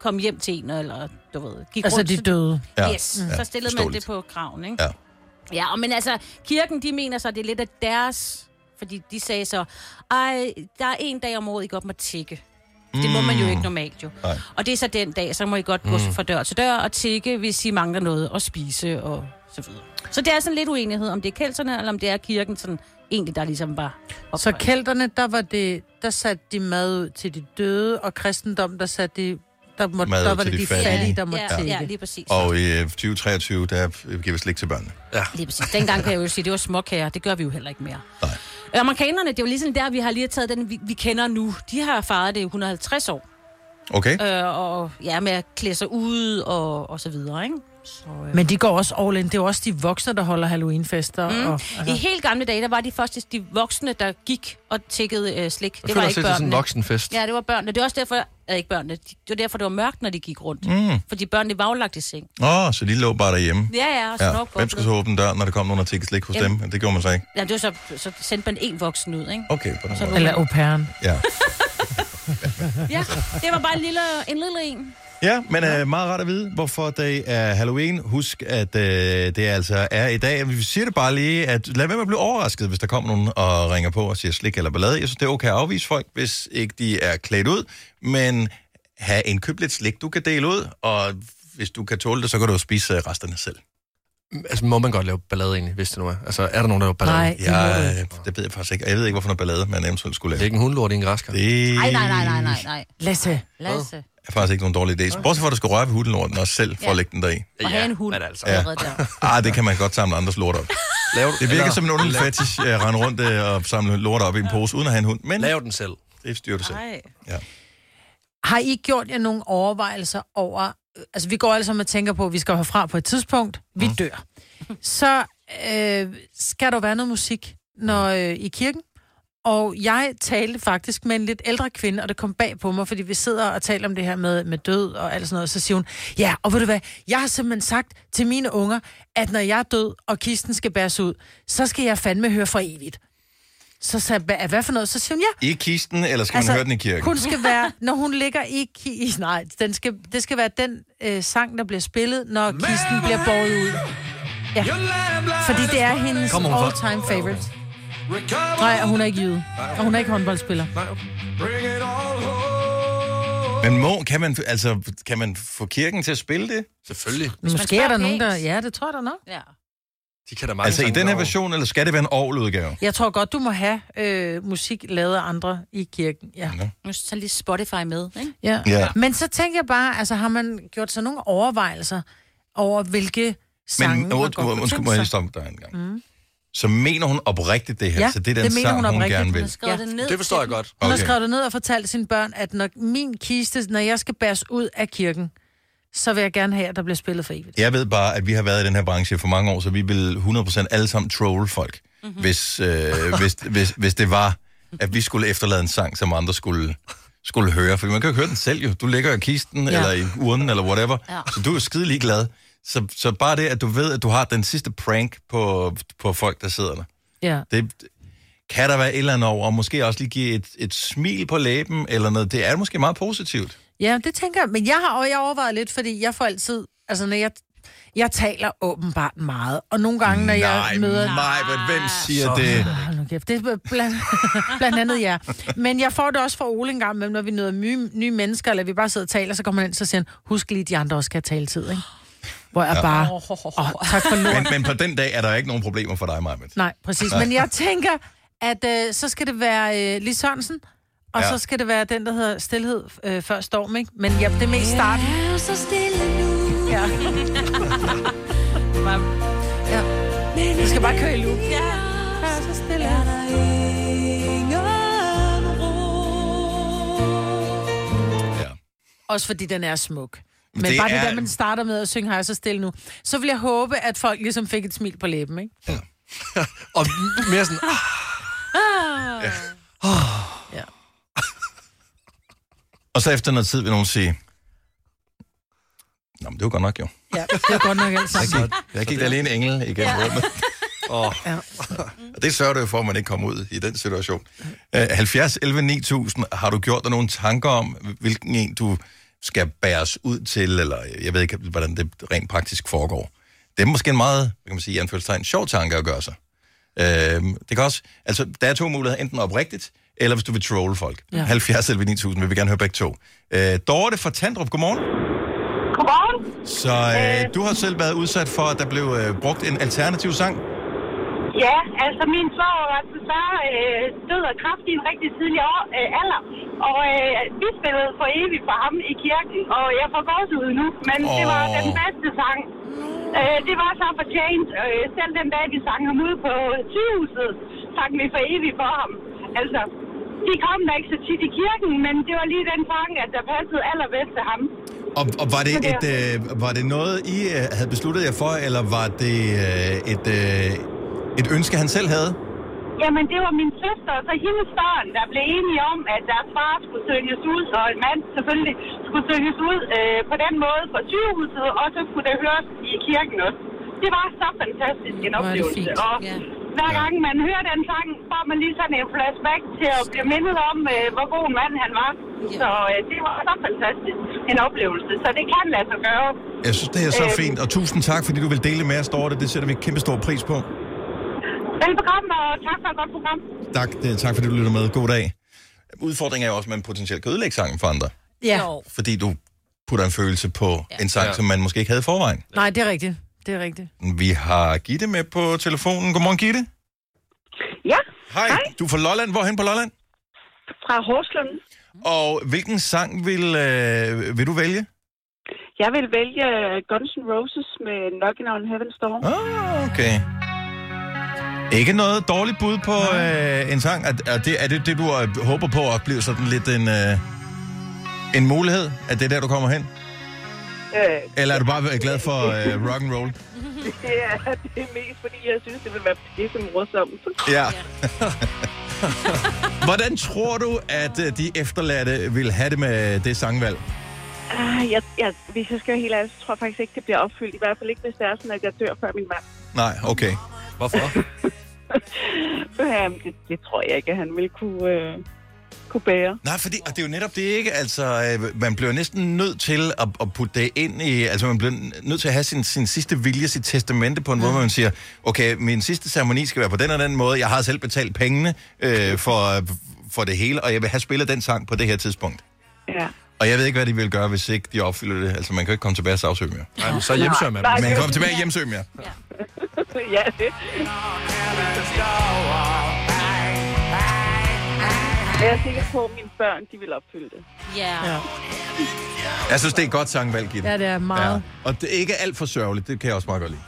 kom hjem til en, eller du ved, gik
Altså,
rundt.
de døde.
Ja.
Ja,
Yes,
ja,
ja, så stillede man det
forståeligt.
på graven, ikke?
Ja.
Ja, og men altså, kirken, de mener så, det er lidt af deres, fordi de sagde så, ej, der er en dag om året, I godt må tikke. Det må man jo
Mm.
ikke normalt jo.
Nej.
Og det er så den dag, så må I godt gå
Mm.
fra dør til dør og tikke, hvis I mangler noget at spise og så videre. Så det er sådan lidt uenighed, om det er kælterne, eller om det er kirken, sådan egentlig, der ligesom var...
Så kælderne, der var det, der satte de mad ud til de døde, og kristendom, der satte de, der, må,
Mad
der
ud
var
til
det
de
de
fattige.
fattige, der måtte
Ja,
til
ja,
det.
lige præcis.
Og i øh, 2023, der øh, giver vi slik til børnene.
Ja.
Lige præcis. Dengang kan jeg jo sige, det var småkager. Det gør vi jo heller ikke mere. Nej. Amerikanerne, det er jo ligesom der, vi har lige taget den, vi, vi kender nu. De har fejret det i 150 år.
Okay?
Øh, og ja, med at klæde sig ud og, og så videre, ikke? Så, øh.
Men de går også all in. Det er jo også de voksne, der holder Halloweenfester.
Mm.
Mm. Og,
I helt gamle dage, der var de faktisk de voksne, der gik og tækkede øh, slik.
Jeg
var
føler også lidt, det er sådan en voksenfest.
Ja, det var børnene. Det er også derfor, at ikke børnene. Det var derfor, det var mørkt, når de gik rundt.
Mm.
Fordi børnene var jo lagt i
Mm.
seng.
Åh, oh, så de lå bare derhjemme.
Ja, ja, og snorkede.
Hvem skulle så åbne døren, når der kom nogen og tikkede slik hos
Jamen.
dem? Det gjorde man så ikke.
Ja, det var så, så sendte man en voksen ud, ikke?
Okay, på den
Så
måde.
Eller au
pairen.
Ja.
Ja, det var bare en lille en. Lille en.
ja, men øh, meget rart at vide, hvorfor det er Halloween. Husk, at øh, det altså er i dag. Vi siger det bare lige, at lad være med at blive overrasket, hvis der kommer nogen og ringer på og siger slik eller ballade. Jeg synes, det er okay at afvise folk, hvis ikke de er klædt ud. Men have indkøbt lidt slik, du kan dele ud, og hvis du kan tåle det, så kan du jo spise øh, resterne selv.
Altså, må man godt lave ballade egentlig, hvis det nu er? Altså, er der nogen, der laver ballade?
Nej, det må Jeg- du det ved jeg faktisk ikke. Jeg ved ikke, hvorfor noget ballade man eventuelt skulle lave. Det er
ikke en hundlort i en græsker.
Det
Nej, nej, nej, nej, nej, nej.
Lasse.
Lasse.
er faktisk ikke nogen dårlig idé. Bortset fra, at du skal røre ved hundelorten også selv, for
Ja.
at lægge den deri.
Og have en hund. Men altså. Ja. Der.
Ah, det kan man godt samle andres lort op.
Lav,
det virker
eller-
som en underlig
Lav-
fetish at rende rundt øh, og samle lort op i en pose, uden at have en hund. Men
Lav den selv.
Det styrer du selv.
Ej.
Ja.
Har I gjort jer nogle overvejelser over... Altså, vi går alle sammen og tænker på, at vi skal herfra på et tidspunkt. Vi mm. dør. Så øh, skal der være noget musik når, øh, i kirken. Og jeg talte faktisk med en lidt ældre kvinde, og det kom bag på mig, fordi vi sidder og taler om det her med, med død og alt sådan noget. Så siger hun, ja, og ved du hvad, jeg har simpelthen sagt til mine unger, at når jeg er død, og kisten skal bæres ud, så skal jeg fandme høre for evigt. Så sagde jeg, "Hva- hvad for noget? Så siger hun, ja,
I kisten, eller skal altså, man høre den i kirken?
hun skal være, når hun ligger i kisten, nej, den skal, det skal være den øh, sang, der bliver spillet, når kisten bliver båret ud. Ja. Fordi det er hendes
Kommer hun fra-
all-time favorite. Nej, og hun er ikke jyde. Og hun er ikke håndboldspiller.
Men må, kan man, altså, kan man få kirken til at spille det?
Selvfølgelig.
Måske er der nogen, der... Ja, det tror jeg da nok.
Ja.
De kan da mange
Altså i
sange
den her
derovre.
version, eller skal det være en orgeludgave?
Jeg tror godt, du må have øh, musik lavet af andre i kirken. Ja.
Nu så lige Spotify med, ikke?
Ja.
Ja.
ja. Men så tænker jeg bare, altså har man gjort sig nogle overvejelser over, hvilke sange
Men
man
nu
godt kunne
undskyld,
tænke
må jeg
sig?
lige stoppe dig en gang.
Mm.
så mener hun oprigtigt det her.
Ja,
så det er den
det mener
sang,
hun
hun,
oprigtigt.
gerne
Hun
vil.
har skrevet det ned
Det forstår jeg godt.
Hun har skrevet det ned og fortalt sine børn, at når min kiste, når jeg skal bæres ud af kirken, så vil jeg gerne have, at der bliver spillet for evigt.
Jeg ved bare, at vi har været i den her branche for mange år, så vi ville 100% alle sammen troll folk,
Mhm.
mm-hmm. hvis, øh, hvis, hvis, hvis det var, at vi skulle efterlade en sang, som andre skulle, skulle høre. For man kan jo ikke høre den selv jo. Du ligger i kisten,
Ja.
ja. eller i urnen, eller whatever.
Ja.
Ja. Så du er jo skidelig glad. Så, så bare det, at du ved, at du har den sidste prank på, på folk, der sidder der.
Ja.
Det kan der være et eller andet over, og måske også lige give et, et smil på læben, eller noget. Det er måske meget positivt.
Ja, det tænker jeg. Men jeg har og jeg overvejet lidt, fordi jeg får altid... Altså, når jeg, jeg taler åbenbart meget. Og nogle gange, når jeg
Nej,
møder...
nej, men hvem
Ah,
siger
Sådan
det?
er Hold nu kæft, det er blandt, blandt andet jer. Men jeg får det også fra Ole en gang imellem, når vi møder nye, nye mennesker, eller vi bare sidder og taler, så kommer han ind, så siger han, husk lige, de andre også skal have taletid, ikke? Hvor jeg
Ja.
ja. bare... Åh, tak for lort.
Men, men på den dag er der ikke nogen problemer for dig, Marvind.
Nej, præcis. Men jeg tænker, at øh, så skal det være øh, Lis Sørensen, og
Ja.
ja. så skal det være den, der hedder Stilhed øh, før storm, ikke? Men ja, det er mest starten.
Jeg er så stille nu.
Ja. ja. Vi skal bare køre i loop.
Ja. Jeg
er så stille.
Er der ingen ro?
Også fordi den er smuk.
Men
Men
det
det bare det
er-
der, man starter med at synge, har jeg så stille nu. Så vil jeg håbe, at folk ligesom fik et smil på læben, ikke?
Og mere sådan... Ah,
Ah. Ja.
Og så efter noget tid vil nogen sige, Nå, men det var godt nok jo.
ja, det er godt nok alt
Der
sammen.
gik, der gik der lige en engel igennem ja. rummet. Oh. Ja. Og det sørger du jo for, at man ikke kommer ud i den situation. Uh, 70 11 9000, har du gjort dig nogle tanker om, hvilken en du skal bæres ud til, eller jeg ved ikke, hvordan det rent praktisk foregår. Det er måske en meget, hvad kan man sige, i anførselstegn, sjov tanke at gøre sig. Uh, det kan også, altså, der er to muligheder, enten oprigtigt, eller hvis du vil trolle folk. Ja.
Ja.
70 11 9000, vil vi gerne høre begge to. Uh, Dorte fra Tandrup, godmorgen.
Godmorgen.
Så øh, du har selv været udsat for, at der blev øh, brugt en alternativ sang?
Ja, altså min svår var desværre øh, død af kræft i en rigtig tidlig år, øh, alder. Og øh, vi spillede for evigt for ham i kirken, og jeg får gåsehud nu, men oh. det var
Åh.
den bedste sang. Øh, det var så fortjent. Øh, selv den dag, vi sang ham ud på sygehuset, sang vi for evigt for ham. Altså, de kom da ikke så tit i kirken, men det var lige den sang, at der passede allerbedst til ham.
Og, og var, det
Så det
et, øh, var det noget, I øh, havde besluttet jer for, eller var det øh, et, øh, et ønske, han selv havde?
Jamen, det var min søster og så hendes børn, der blev enige om, at deres far skulle synges ud, og en mand selvfølgelig skulle synges ud øh, på den måde fra sygehuset, og så skulle det høres i kirken også. Det var så fantastisk en
Hvor er det
oplevelse,
fint.
og
Ja.
hver gang man hører den sang, får man lige sådan en flashback til at blive mindet om, øh, hvor god en mand han var. Så øh, det var så fantastisk en oplevelse, så det kan lade sig gøre.
Jeg synes, det er så
Øhm.
Øh.
fint, og tusind tak, fordi du vil dele med os, Dorte. Det sætter vi kæmpe stor pris på.
Velbekomme, og tak for et godt program.
Tak, øh, tak fordi du lytter med. God dag. Udfordringen er jo også, at man potentielt kan ødelægge sangen for andre,
Ja.
fordi du putter en følelse på ja. en sang, ja. som man måske ikke havde i forvejen.
Nej, det er rigtigt. Det er rigtigt.
Vi har Gitte med på telefonen. Godmorgen, Gitte.
Ja.
Hej. Hej. Du er fra Lolland. Hvorhen på Lolland?
Fra Horslund.
Og hvilken sang vil, øh, vil du vælge?
Jeg vil vælge Guns N' Roses med Knockin' on Heaven's Door.
Ah, Okay. Ikke noget dårligt bud på øh, en sang. Er, er, det, er det det, du øh, håber på at blive sådan lidt en, øh, en mulighed? At det er der, du kommer hen?
Øh,
Eller er du bare øh, glad for øh, rock and roll?
det, er, det er mest, fordi jeg synes, det vil være pisse morsomt.
Ja. Hvordan tror du, at øh, de efterladte vil have det med det sangvalg?
Ah, jeg, jeg, hvis jeg skal være helt ærlig, så tror jeg faktisk ikke, det bliver opfyldt. I hvert fald ikke, hvis det er sådan, at jeg dør før min mand.
Nej, okay. Hvorfor?
Øhm, det, det tror jeg ikke, at han ville kunne, øh, kunne bære.
Nej, fordi, og det er jo netop det ikke, altså, øh, man bliver næsten nødt til at, at putte det ind i, altså man bliver nødt til at have sin, sin sidste vilje, sit testamente på en måde, hvor man siger, okay, min sidste ceremoni skal være på den og den måde, jeg har selv betalt pengene øh, for, for det hele, og jeg vil have spillet den sang på det her tidspunkt.
Ja.
Og jeg ved ikke, hvad de vil gøre, hvis ikke de opfylder det. Altså, man kan jo ikke komme tilbage og sagsøge mere. Nej,
så hjemsøger man dem.
Man kan komme tilbage og hjemsøge mere.
ja, det. Jeg er sikker på, at mine børn, de vil opfylde det.
Ja.
ja.
Jeg synes, det er et godt sangvalg, Gitte.
Ja, det er meget.
Og det er ikke alt for sørgeligt, det kan jeg også meget godt lide.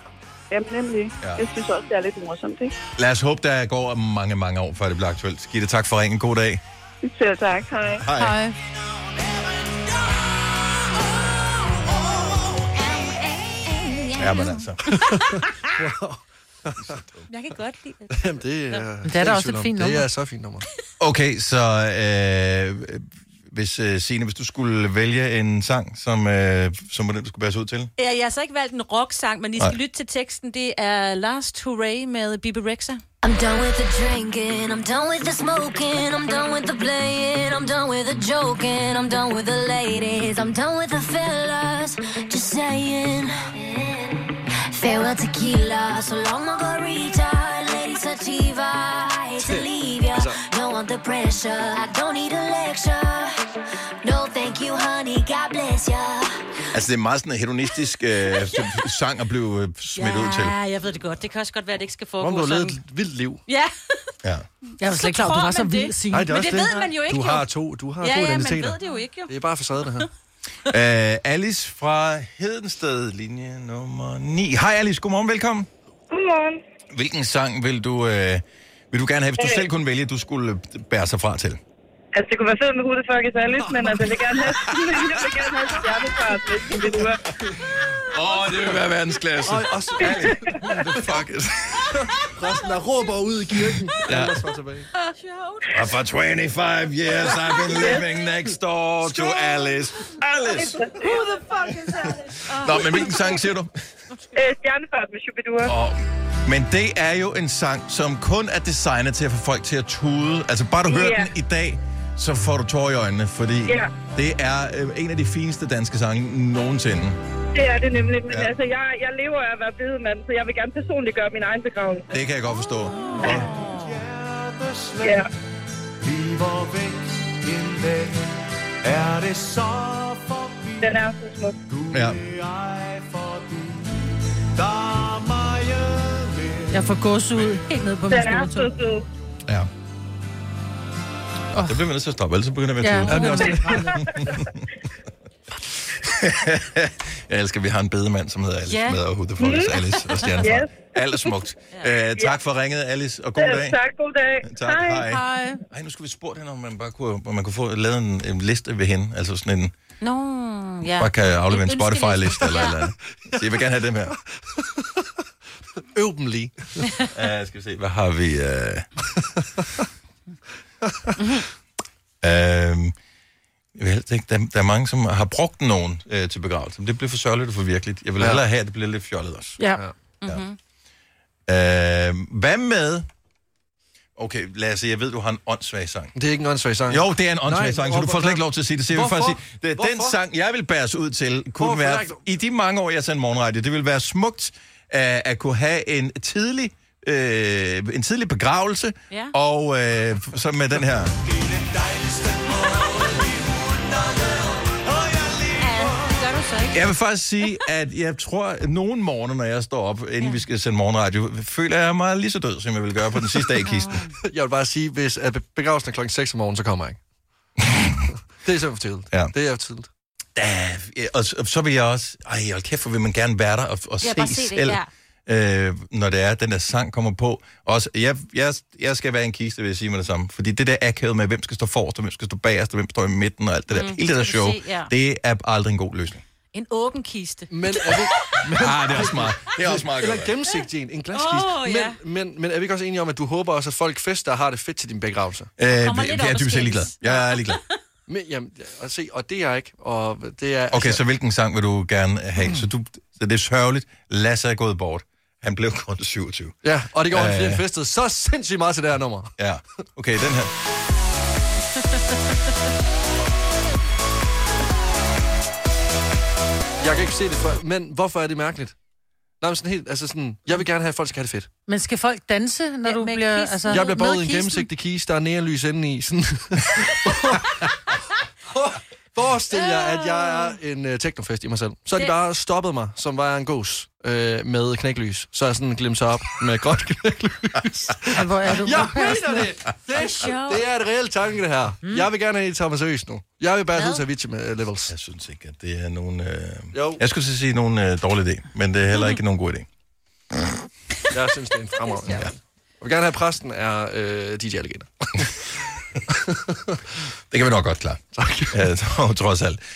Jamen nemlig.
Ja.
Ja. Jeg synes også, det er lidt morsomt, ikke?
Lad os håbe, der går mange, mange år, før det bliver aktuelt. Gitte, tak for ringen. God dag.
Selv tak. Hej.
Hej. Hej. Ja, men altså.
wow.
Jeg kan godt lide det.
Jamen, det er...
Men det er da også et fint nummer.
Det er så fint nummer.
Okay, så øh, hvis, øh, Signe, hvis du skulle vælge en sang, som, øh, som var den, du skulle bæres ud til?
Ja, jeg har så ikke valgt en rock-sang, men I skal
Nej.
lytte til teksten. Det er Last Hooray med Bibi Rexa.
I'm done with the drinking, I'm done with the smoking, I'm done with the playing, I'm done with the joking, I'm done with the ladies, I'm done with the fellas, just saying. Farewell tequila, so long margarita, lady sativa, I hate to leave ya, don't want the pressure, I don't need a lecture, no thank you honey, God bless ya.
Altså, det er meget sådan en hedonistisk øh, sang at blive øh, smidt ud til.
Ja, Ah, jeg ved det godt. Det kan også godt være, at det ikke skal foregå
Om du har levet
sådan.
et vildt liv.
Ja.
Ja.
Jeg var slet ikke klar, over, du
tror
var så
man
vild,
det.
Signe.
Nej, det er Men også det det. ved man jo ikke,
Du
jo.
har to, du har
Ja,
to
ja, man
identiteter.
ved det jo ikke, jo.
Det er bare facade, det her.
Øh, Alice fra Hedensted, linje nummer 9. Hej Alice, godmorgen, velkommen.
Godmorgen.
Hvilken sang vil du, øh, vil du gerne have, hvis du
Øh.
selv kunne vælge, du skulle øh, bære sig fra til?
Altså, det kunne være fedt med Who the Fuck is Alice, men altså, jeg vil gerne have, jeg vil gerne have stjernefart, hvis det er det, du er.
Åh, oh, det vil være verdensklasse.
Og også ærligt. What the
fuck?
Resten der råber ud i kirken.
Ja.
Ellers var tilbage.
Og for 25 years I've been living next door to Alice. Alice!
Who the fuck is Alice?
Nå, men hvilken sang siger du?
Øh, stjernefart med Shubidua.
Åh, Men det er jo en sang, som kun er designet til at få folk til at tude. Altså bare du hører
Ja.
den i dag, så får du tårer i øjnene, fordi
Ja.
det er øh, en af de fineste danske sange nogensinde.
Det er det nemlig, men
Ja.
ja. altså, jeg, jeg lever af at være bedemand, så jeg vil gerne personligt gøre min egen begravelse.
Det kan jeg godt forstå.
Ja.
Bliver væk en dag, er det så forbi?
Den er så smuk.
Ja.
Jeg forbi, der er meget mere.
Jeg får gås ud helt ned på min
Den er så
skoletog.
sød.
Oh. Det bliver vi nødt til at stoppe, ellers så begynder vi at
Ja,
tude.
nu begynder man at
jeg elsker, at vi har en bedemand, som hedder Alice,
Ja.
yeah. med og Hude Folkes
Mm.
Alice og Stjernefar.
Yes.
Yes. Alt er smukt. ja. uh, tak for ringet, Alice, og god
Øh,
dag.
Tak, god dag.
Tak, hej.
Hej.
Ej, nu skulle vi spurgt hende, om man bare kunne, om man kunne få lavet en, en liste ved hende. Altså sådan en,
Nå, ja.
ja. bare kan aflevere en
En ønskeliste.
Spotify-liste eller
Ja.
et eller andet. Så jeg vil gerne have dem her.
Øv dem lige.
Uh, skal vi se, hvad har vi? Uh... uh, jeg vil helst ikke. Der, der er mange, som har brugt nogen øh, til begravelse. Men det blev for sørgeligt og for virkeligt. Jeg vil
Ja.
hellere have, at det bliver lidt fjollet også.
Ja.
Mm-hmm. Øh, hvad med... Okay, lad os se, jeg ved, du har en åndssvag sang.
Det er ikke en åndssvag sang.
Jo, det er en
Nej,
åndssvag sang, så du
hvorfor-
får slet ikke lov til at sige det. Så jeg vil faktisk
Hvorfor?
sige, det er den
Hvorfor?
sang, jeg vil bæres ud til, kunne
Hvorfor?
være... I de mange år, jeg sendte morgenradio, det ville være smukt øh, at, at kunne have en tidlig, øh, en tidlig begravelse,
Ja.
og øh, så med den her...
Det gør du så ikke.
Jeg vil faktisk sige, at jeg tror, at nogle morgener, når jeg står op, inden vi skal sende morgenradio, føler jeg mig lige så død, som jeg ville gøre på den sidste dag i kisten.
Jeg vil bare sige, hvis at begravelsen er klokken 6 om morgenen, så kommer jeg ikke. det er simpelthen for tidligt.
Ja.
Det er for tidligt.
Da, og, så- og så vil jeg også... Ej, hold kæft, hvor vil man gerne være der og, og
Ja,
se,
bare
se
se det,
selv, ja. øh, når det er, den der sang kommer på. Også, jeg, jeg, jeg skal være i en kiste, vil jeg sige med det samme. Fordi det der akavet med, hvem skal stå forrest, og hvem skal stå bagerst, og hvem står i midten, og alt det der.
Mm,
Mm, Hele det der
det skal
show,
vi
se,
se,
ja.
ja.
det er aldrig en god løsning.
En åben kiste.
Men er det... Men...
Ah, det er også meget. Det er også meget
Eller
godt.
gennemsigtig en, en glaskiste.
Åh,
men,
ja.
men, men er vi ikke også enige om, at du håber også, at folk fester og har det fedt til din begravelse?
Øh, jeg, jeg er dybest set ligeglad. Jeg er ligeglad.
Men, jamen, og se, og det er jeg ikke. Og det er, altså-
Okay, så hvilken sang vil du gerne have? Så, du, så det er sørgeligt. Lasse er gået bort. Han blev kun 27.
Ja, og det går øh...
Øh.
han festet så sindssygt meget til det her nummer.
Ja, okay, den her.
Jeg kan ikke se det for, men hvorfor er det mærkeligt? Nej, men sådan helt, altså sådan, jeg vil gerne have, at folk skal have det fedt.
Men skal folk danse, når du bliver... Altså,
jeg bliver bare ud
med
i en
kisten?
gennemsigtig kiste, der er neonlys inde i. Sådan. Forestil jer, at jeg
Øh.
er en uh, teknofest i mig selv. Så har de
Det-
bare stoppet mig, som var jeg en gås, øh, med knæklys. Så er jeg sådan glemt sig op med grønt knæklys.
Hvor er du
jeg
upassende.
mener det! Det er,
sjovt.
det er et reelt tanke, det her. Mm. Jeg vil gerne have, at I tager mig seriøst nu. Jeg vil bare ud til Avicii med øh, levels.
Jeg synes ikke, at det er nogen... Øh...
Jo.
Jeg skulle til at sige nogen øh, dårlig idé, men det er heller ikke nogen god idé.
Jeg synes, det er en fremragende. Ja. Jeg vil gerne have, at præsten er øh, DJ Alligator.
Det kan vi nok godt klare. Tak. Uh, trods alt. Uh,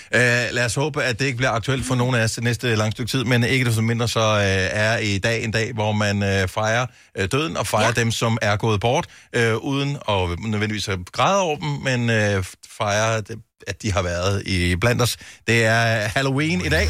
lad os håbe, at det ikke bliver aktuelt for nogen af os det næste lange stykke tid, men ikke desto mindre så uh, er i dag en dag, hvor man uh, fejrer uh, døden og fejrer ja. dem, som er gået bort, uh, uden at nødvendigvis at græde over dem, men uh, fejrer, det, at de har været i blandt os. Det er Halloween i dag.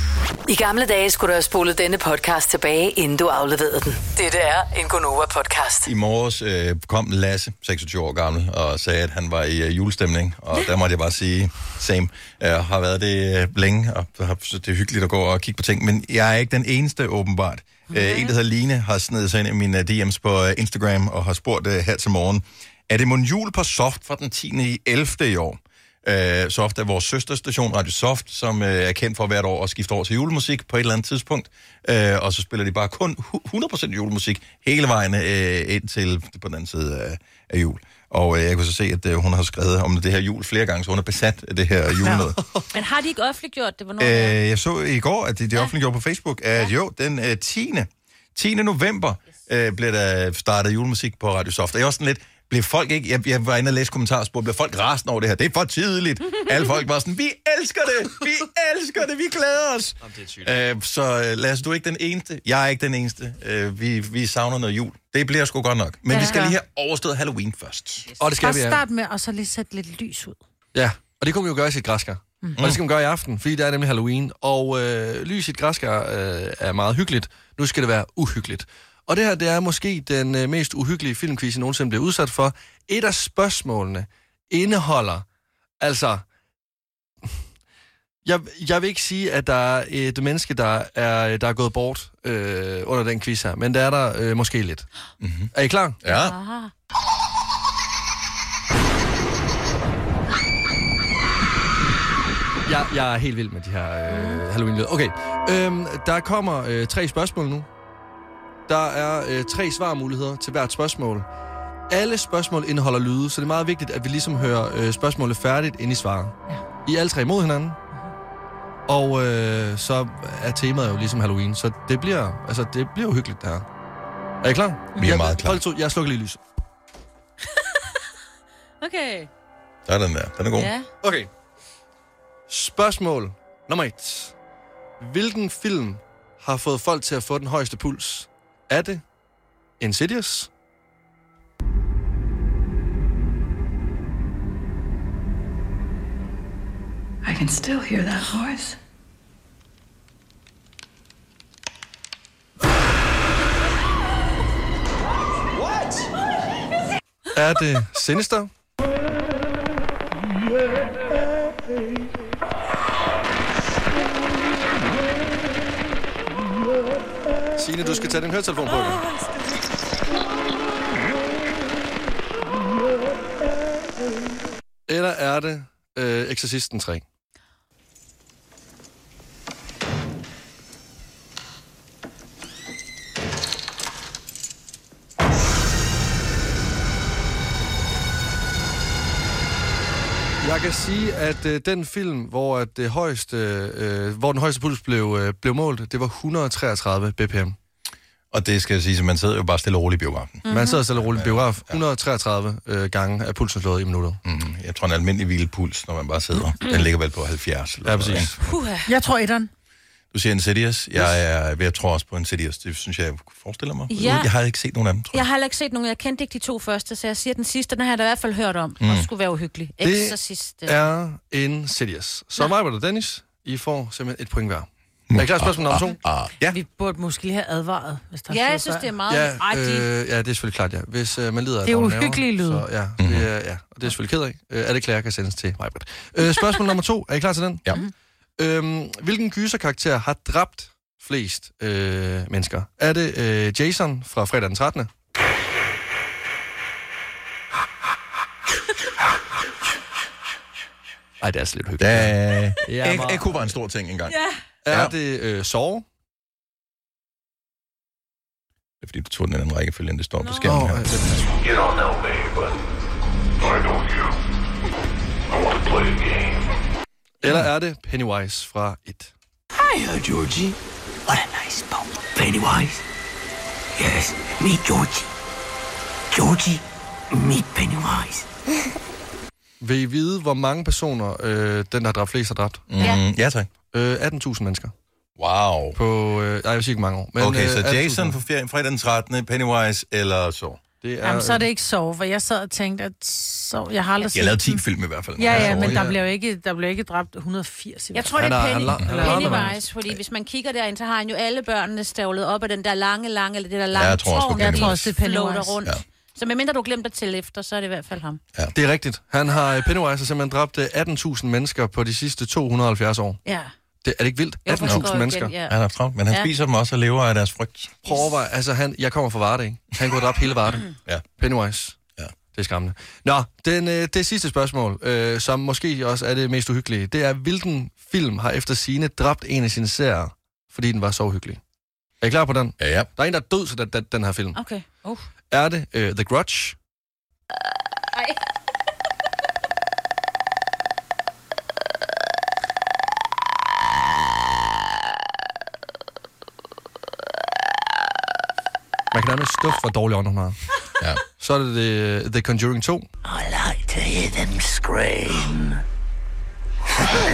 I gamle dage skulle du have spolet denne podcast tilbage, inden du afleverede den. Dette er en Gonova-podcast.
I morges øh, kom Lasse, 26 år gammel, og sagde, at han var i øh, julestemning. Og der måtte jeg bare sige, same. Jeg har været det øh, længe, og har syntes, det er hyggeligt at gå og kigge på ting. Men jeg er ikke den eneste, åbenbart. Øh, en, der hedder Line, har snedet sig ind i mine øh, DM's på øh, Instagram og har spurgt øh, her til morgen, er det mon jul på Soft fra den 10. i 11. i år? Øh, Soft er vores søsterstation, Radio Soft, som øh, er kendt for hvert år at skifte over til julemusik på et eller andet tidspunkt. Øh, og så spiller de bare kun hu- 100% julemusik hele vejen øh, ind til på den anden side af, af jul. Og øh, jeg kunne så se, at øh, hun har skrevet om det her jul flere gange, så hun er besat af det her julenød.
Men har de ikke offentliggjort det? Hvornår øh, det er?
Øh, jeg så i går, at det de offentliggjorde på Facebook, at jo, den øh, 10. 10. november øh, blev der startet julemusik på Radio Soft. Og jeg er også sådan lidt, blev folk ikke, jeg, jeg var inde og læse kommentarer og spurgte, blev folk rasende over det her? Det er for tidligt. Alle folk var sådan, vi elsker det, vi elsker det, vi glæder os. Øh, så øh, Lasse, du er ikke den eneste, jeg er ikke den eneste. Øh, vi, vi savner noget jul. Det bliver sgu godt nok. Men
Ja.
vi skal lige have overstået Halloween først.
Og det skal
Bare
vi, ja.
start med, og så lige sætte lidt lys ud.
ja. Og det kunne man jo gøre i sit græskar. Mm. Og det skal man gøre i aften, fordi det er nemlig Halloween. Og øh, lys i et græskar øh, er meget hyggeligt. Nu skal det være uhyggeligt. Og det her, det er måske den øh, mest uhyggelige filmquiz, jeg nogensinde blev udsat for. Et af spørgsmålene indeholder, altså... Jeg, jeg vil ikke sige, at der er et menneske, der er, der er gået bort øh, under den quiz her, men der er der øh, måske lidt. Mm-hmm. Er I klar?
Ja.
Aha.
Jeg, jeg er helt vild med de her øh, Halloween-lyde. Okay, øhm, der kommer øh, tre spørgsmål nu. Der er øh, tre svarmuligheder til hvert spørgsmål. Alle spørgsmål indeholder lyde, så det er meget vigtigt, at vi ligesom hører øh, spørgsmålet færdigt, inden I svarer. Ja. I er alle tre imod hinanden. Og øh, så er temaet jo ligesom Halloween, så det bliver, altså, det bliver jo hyggeligt, det her. Er I klar? Vi er jeg, meget klar. Hold to, jeg slukker lige lyset.
Okay.
Der er den der. Den er god.
Ja.
Okay. Spørgsmål nummer et. Hvilken film har fået folk til at få den højeste puls? Er det Insidious?
I can still hear that voice.
Er det Sinister? Signe, du skal tage din høretelefon på. igen. Eller er det øh, Exorcisten 3? Jeg kan sige, at øh, den film, hvor, at det højeste, øh, hvor den højeste puls blev, øh, blev målt, det var 133 bpm.
Og det skal jeg sige, at man sidder jo bare stille og roligt i biografen.
Mhm. Man sidder stille og roligt i biografen. 133 øh, gange er pulsen slået i minuttet.
Mm, jeg tror, en almindelig hvilepuls, når man bare sidder, den ligger vel på 70. Eller
Ja,
noget,
præcis.
ikke?
Jeg tror etteren.
Du siger Insidious. Jeg, er, jeg tror også på Insidious. Det synes jeg, jeg forestiller mig.
Ja.
Jeg har ikke set nogen af dem, tror jeg.
Jeg har heller ikke set nogen. Jeg kendte ikke de to første, så jeg siger den sidste. Den har jeg da i hvert fald hørt om. Mm.
Mm.
Og skulle være uhyggelig.
Det
Exorcist. øh.
er Insidious. Så mig og Dennis, I får simpelthen et point hver. Er I klar til spørgsmål nummer to?
Ah, Ja.
Vi burde måske lige have advaret, hvis der er
Ja,
flere
jeg synes,
børn.
det er meget...
Ja,
Ej, de-
øh, ja, det er selvfølgelig klart, ja. Hvis øh, man lider af
Det er
dårlige nerver,
uhyggelige lyde.
Så, ja,
Mhm.
det er, ja, og det er selvfølgelig ked af. Øh, alle klager kan sendes til mig. Øh, spørgsmål nummer to. Er I klar til den?
Ja.
Øhm, hvilken gyserkarakter har dræbt flest øh, mennesker? Er det øh, Jason fra fredag den 13. Ej, det er altså lidt hyggeligt.
Da...
Ja,
Ja,
meget.
Eko var en stor ting engang.
Ja.
Er ja. det øh, Saw?
Det er fordi, du tog den i en rækkefølge, end det står på skærmen her.
altså,
You don't know me, but I know you. I want to play a game.
Eller er det Pennywise fra 1?
Hiya, Georgie. What a nice bone. Pennywise. Yes, me Georgie. Georgie, me Pennywise.
Vil I vide, hvor mange personer øh, den, der har dræbt flest, har dræbt?
Mm, Ja. ja, tak.
Øh, 18.000 mennesker.
Wow.
På, øh, nej, jeg vil sige ikke mange år.
okay,
øh,
så
18.000.
Jason for fjer- fredag den 13. Pennywise eller så.
Det
Jamen, så er det ikke sove, for jeg sad og tænkte, at sove. Jeg har aldrig
Jeg lavede
set den.
10 film i hvert fald.
Ja, ja,
Sove,
men
ja.
der blev jo ikke, der blev ikke dræbt 180 i
Jeg
hvert
tror,
fald.
det er
Han er-
Penny,
han er- han er-
Pennywise, fordi hvis man kigger derind, så har han jo alle børnene stavlet op af den der lange, lange, eller det der lange
jeg tror også på
tårn, der
Pennywise. Jeg tror
også, det er
floater
Pennywise.
rundt.
Ja.
Så medmindre du glemte at tælle efter, så er det i hvert fald ham.
Ja.
Det er rigtigt. Han har, øh, Pennywise har simpelthen dræbt øh, 18.000 mennesker på de sidste 270 år.
Ja.
Det, er det ikke vildt?
Jo, han går
18.000
igen,
mennesker.
ja.
Han er travlt, men han
Ja.
spiser dem også og lever af deres frygt.
Prøv at overveje, altså han, jeg kommer fra Varde, ikke? Han kunne have dræbt hele Varde.
ja.
Pennywise.
Ja.
Det er skræmmende. Nå, den, øh, det sidste spørgsmål, øh, som måske også er det mest uhyggelige, det er, hvilken film har efter sine dræbt en af sine serier, fordi den var så uhyggelig? Er I klar på den?
Ja, ja.
Der er en, der er død til den, den, den her film.
Okay. Uh.
Er det øh, The Grudge?
Ej.
Man kan nærmest stuffe, hvor dårlig ånd hun har.
Ja.
Så er det øh, The Conjuring 2.
I like to hear them scream.
Why don't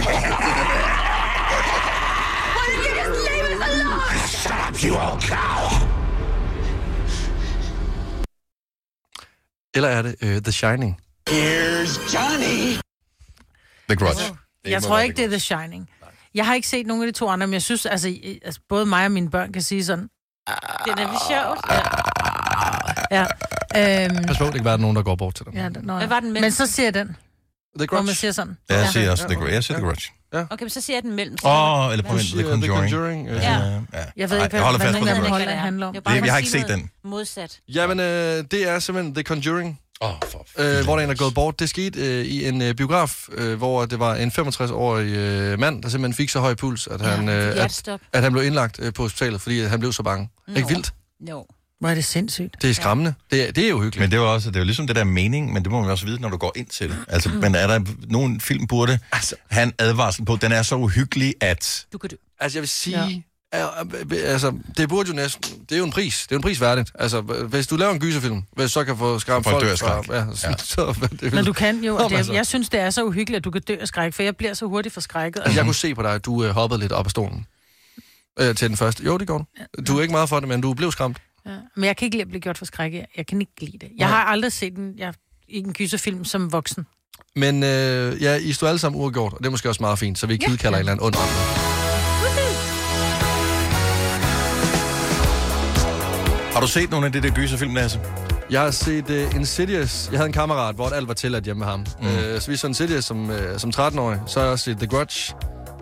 you just leave us alone? Shut up,
You old cow.
Eller er det øh, The Shining?
Here's Johnny.
The
Grudge.
Altså,
Jeg tror ikke, det er The Shining. Jeg har ikke set nogen af de to andre, men jeg synes, altså, i- altså både mig og mine børn kan sige sådan,
Det er nemlig sjovt.
ja, øhm,
Pas på, det kan være, at der er nogen, der går bort til dem.
ja den, nå, ja.
Hvad var den mellem?
Men så siger jeg den,
The
hvor man
Grudge.
siger sådan.
Ja, jeg siger også The Grudge. Jeg siger The Grudge.
Okay, men så siger jeg den mellem.
Åh, oh, eller på
Du
vent, The
siger The
Conjuring.
Conjuring, ja.
ja.
Ja.
ja.
Jeg ved
Ej,
ikke,
jeg holder
hvad-
fast på
hvad
The
nogen af dem
Grudge.
holder- den handler om.
Det er bare
Det-
for
jeg har
at
ikke
sige
set
noget
den.
Modsat.
Jamen, øh, det er simpelthen The Conjuring,
oh, for
øh, hvor der er en, der er gået bort. Det skete øh, i en øh, biograf, øh, hvor det var en 65-årig øh, mand, der simpelthen fik så høj puls, at han, øh, at,
hjertestop.
at han blev indlagt øh, på hospitalet, fordi at han blev så bange. No. Ikke vildt?
Jo.
Hvor er det sindssygt.
Det er skræmmende. Det er, det er jo hyggeligt.
Men det var også, det er jo ligesom det der mening, men det må man også vide, når du går ind til det. Altså, mm. men er der nogen film burde altså, han advarsel på, den er så uhyggelig, at...
Du kan dø.
Altså, jeg vil sige... Ja. Altså, det burde jo næsten... Det er jo en pris. Det er jo en pris værdigt. Altså, hvis du laver en gyserfilm, hvis så kan få skræmt
Folk
folk...
dør af skræk.
fra- Ja, så, ja. så, det vil-
Men du kan jo,
Nå,
og
men
det,
altså.
jeg synes, det er så uhyggeligt, at du kan dø af skræk, for jeg bliver så hurtigt forskrækket.
Mhm.
Altså, jeg kunne se på dig, at du øh, hoppede lidt op af stolen. Øh, til den første. Jo, det går du. Du er ikke meget for det, men du blev skræmt.
Ja. Men jeg kan ikke lide at blive gjort for skræk. Jeg, jeg kan ikke lide det. Jeg har aldrig set en, jeg, en gyserfilm som voksen.
Men øh, ja, I stod alle sammen uafgjort, og det er måske også meget fint, så vi ikke
Ja.
udkalder en eller anden ond ånd.
Har du set nogle af de der gyserfilm, Lasse?
Jeg har set uh, Insidious. Jeg havde en kammerat, hvor alt var tilladt hjemme med ham. Mm. Uh, så vi så Insidious som, uh, som 13-årig. Så har jeg også set The Grudge,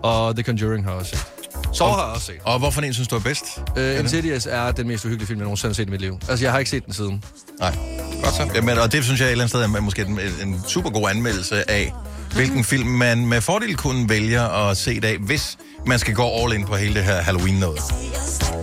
og The Conjuring har jeg også set. Så har jeg også set.
Og hvorfor en synes du er bedst?
Uh, Insidious er den mest uhyggelige film, jeg nogensinde har set i mit liv. Altså, jeg har ikke set den siden.
Nej. Godt så. Jamen, og det synes jeg et eller andet sted er måske en, en super god anmeldelse af, hvilken film man med fordel kunne vælge at se i dag, hvis man skal gå all in på hele det her Halloween-noget.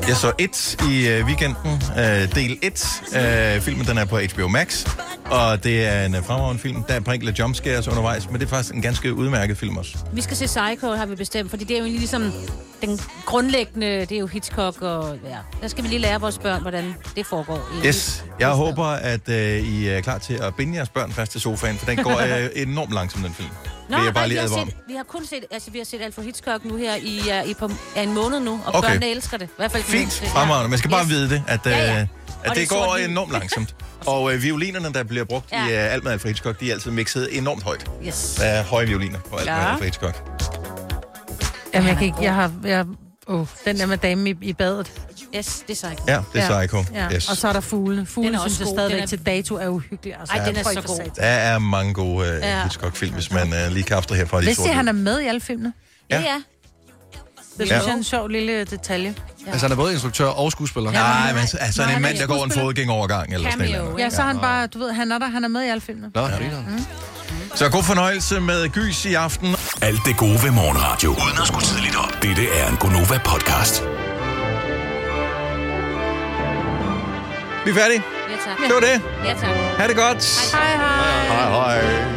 Jeg så et i øh, weekenden, øh, del 1. Øh, filmen den er på HBO Max, og det er en øh, fremragende film. Der er et par enkelte jumpscares undervejs, men det er faktisk en ganske udmærket film også.
Vi skal se Psycho, har vi bestemt, fordi det er jo egentlig ligesom den grundlæggende, det er jo Hitchcock og ja. Der skal vi lige lære vores børn, hvordan det foregår. i-
Yes, jeg håber, at øh, I er klar til at binde jeres børn fast til sofaen, for den går øh, enormt langsomt, den film.
Nå,
Vil jeg bare
nej,
lige
vi,
advare
har
om.
set, vi har kun set, altså vi har set Alfred Hitchcock nu her i, uh, i på, ja, en måned nu, og
Okay.
okay. børnene elsker det. I hvert fald den
Fint,
mindste. Ja.
fremragende. Man skal bare
Yes.
vide det, at,
Ja,
ja,
ja.
ja.
Og
at det,
det er
det går
sort-hvid.
enormt langsomt. Og øh, violinerne, der bliver brugt ja. i
Ja.
øh, alt med Alfred Hitchcock, de er altid mixet enormt højt.
Yes.
Der er høje violiner på alt ja. med
Ja.
Alfred Hitchcock.
Jamen, jeg kan ikke, jeg har, jeg, oh, den der med damen i, i badet.
Yes, det er Psycho.
Ja, det er Psycho.
Ja.
Yes.
Og så er der fugle.
Den
Fugle
er også
synes jeg
god.
stadigvæk
Den er-
til dato er uhyggelig. Altså.
Ej, den er
Føj
så
for
god.
satan.
Der er mange gode øh,
Ja.
Hitchcock-film, hvis man øh, lige kan afstrahere fra de
Hvis
sorte.
det, han er med i alle filmene.
Ja.
ja.
Det synes
Ja.
jeg er en sjov lille detalje.
Ja. Altså, han er både instruktør og skuespiller.
Ja, Nej, men altså, altså
Nå,
en
han er
mand, der går en
skuespiller.
fodgængovergang eller sådan noget.
Ja, så er han bare, du ved, han er der, han er med i alle filmene.
Nå, ja.
Så god fornøjelse med gys i aften.
Alt det gode ved morgenradio. Uden at skulle tidligt op. Dette er en Gonova-podcast.
Vi er færdige.
Ja, tak.
Det var det.
Ja, tak.
Ha' det godt.
Hej, hej.
Hej, hej.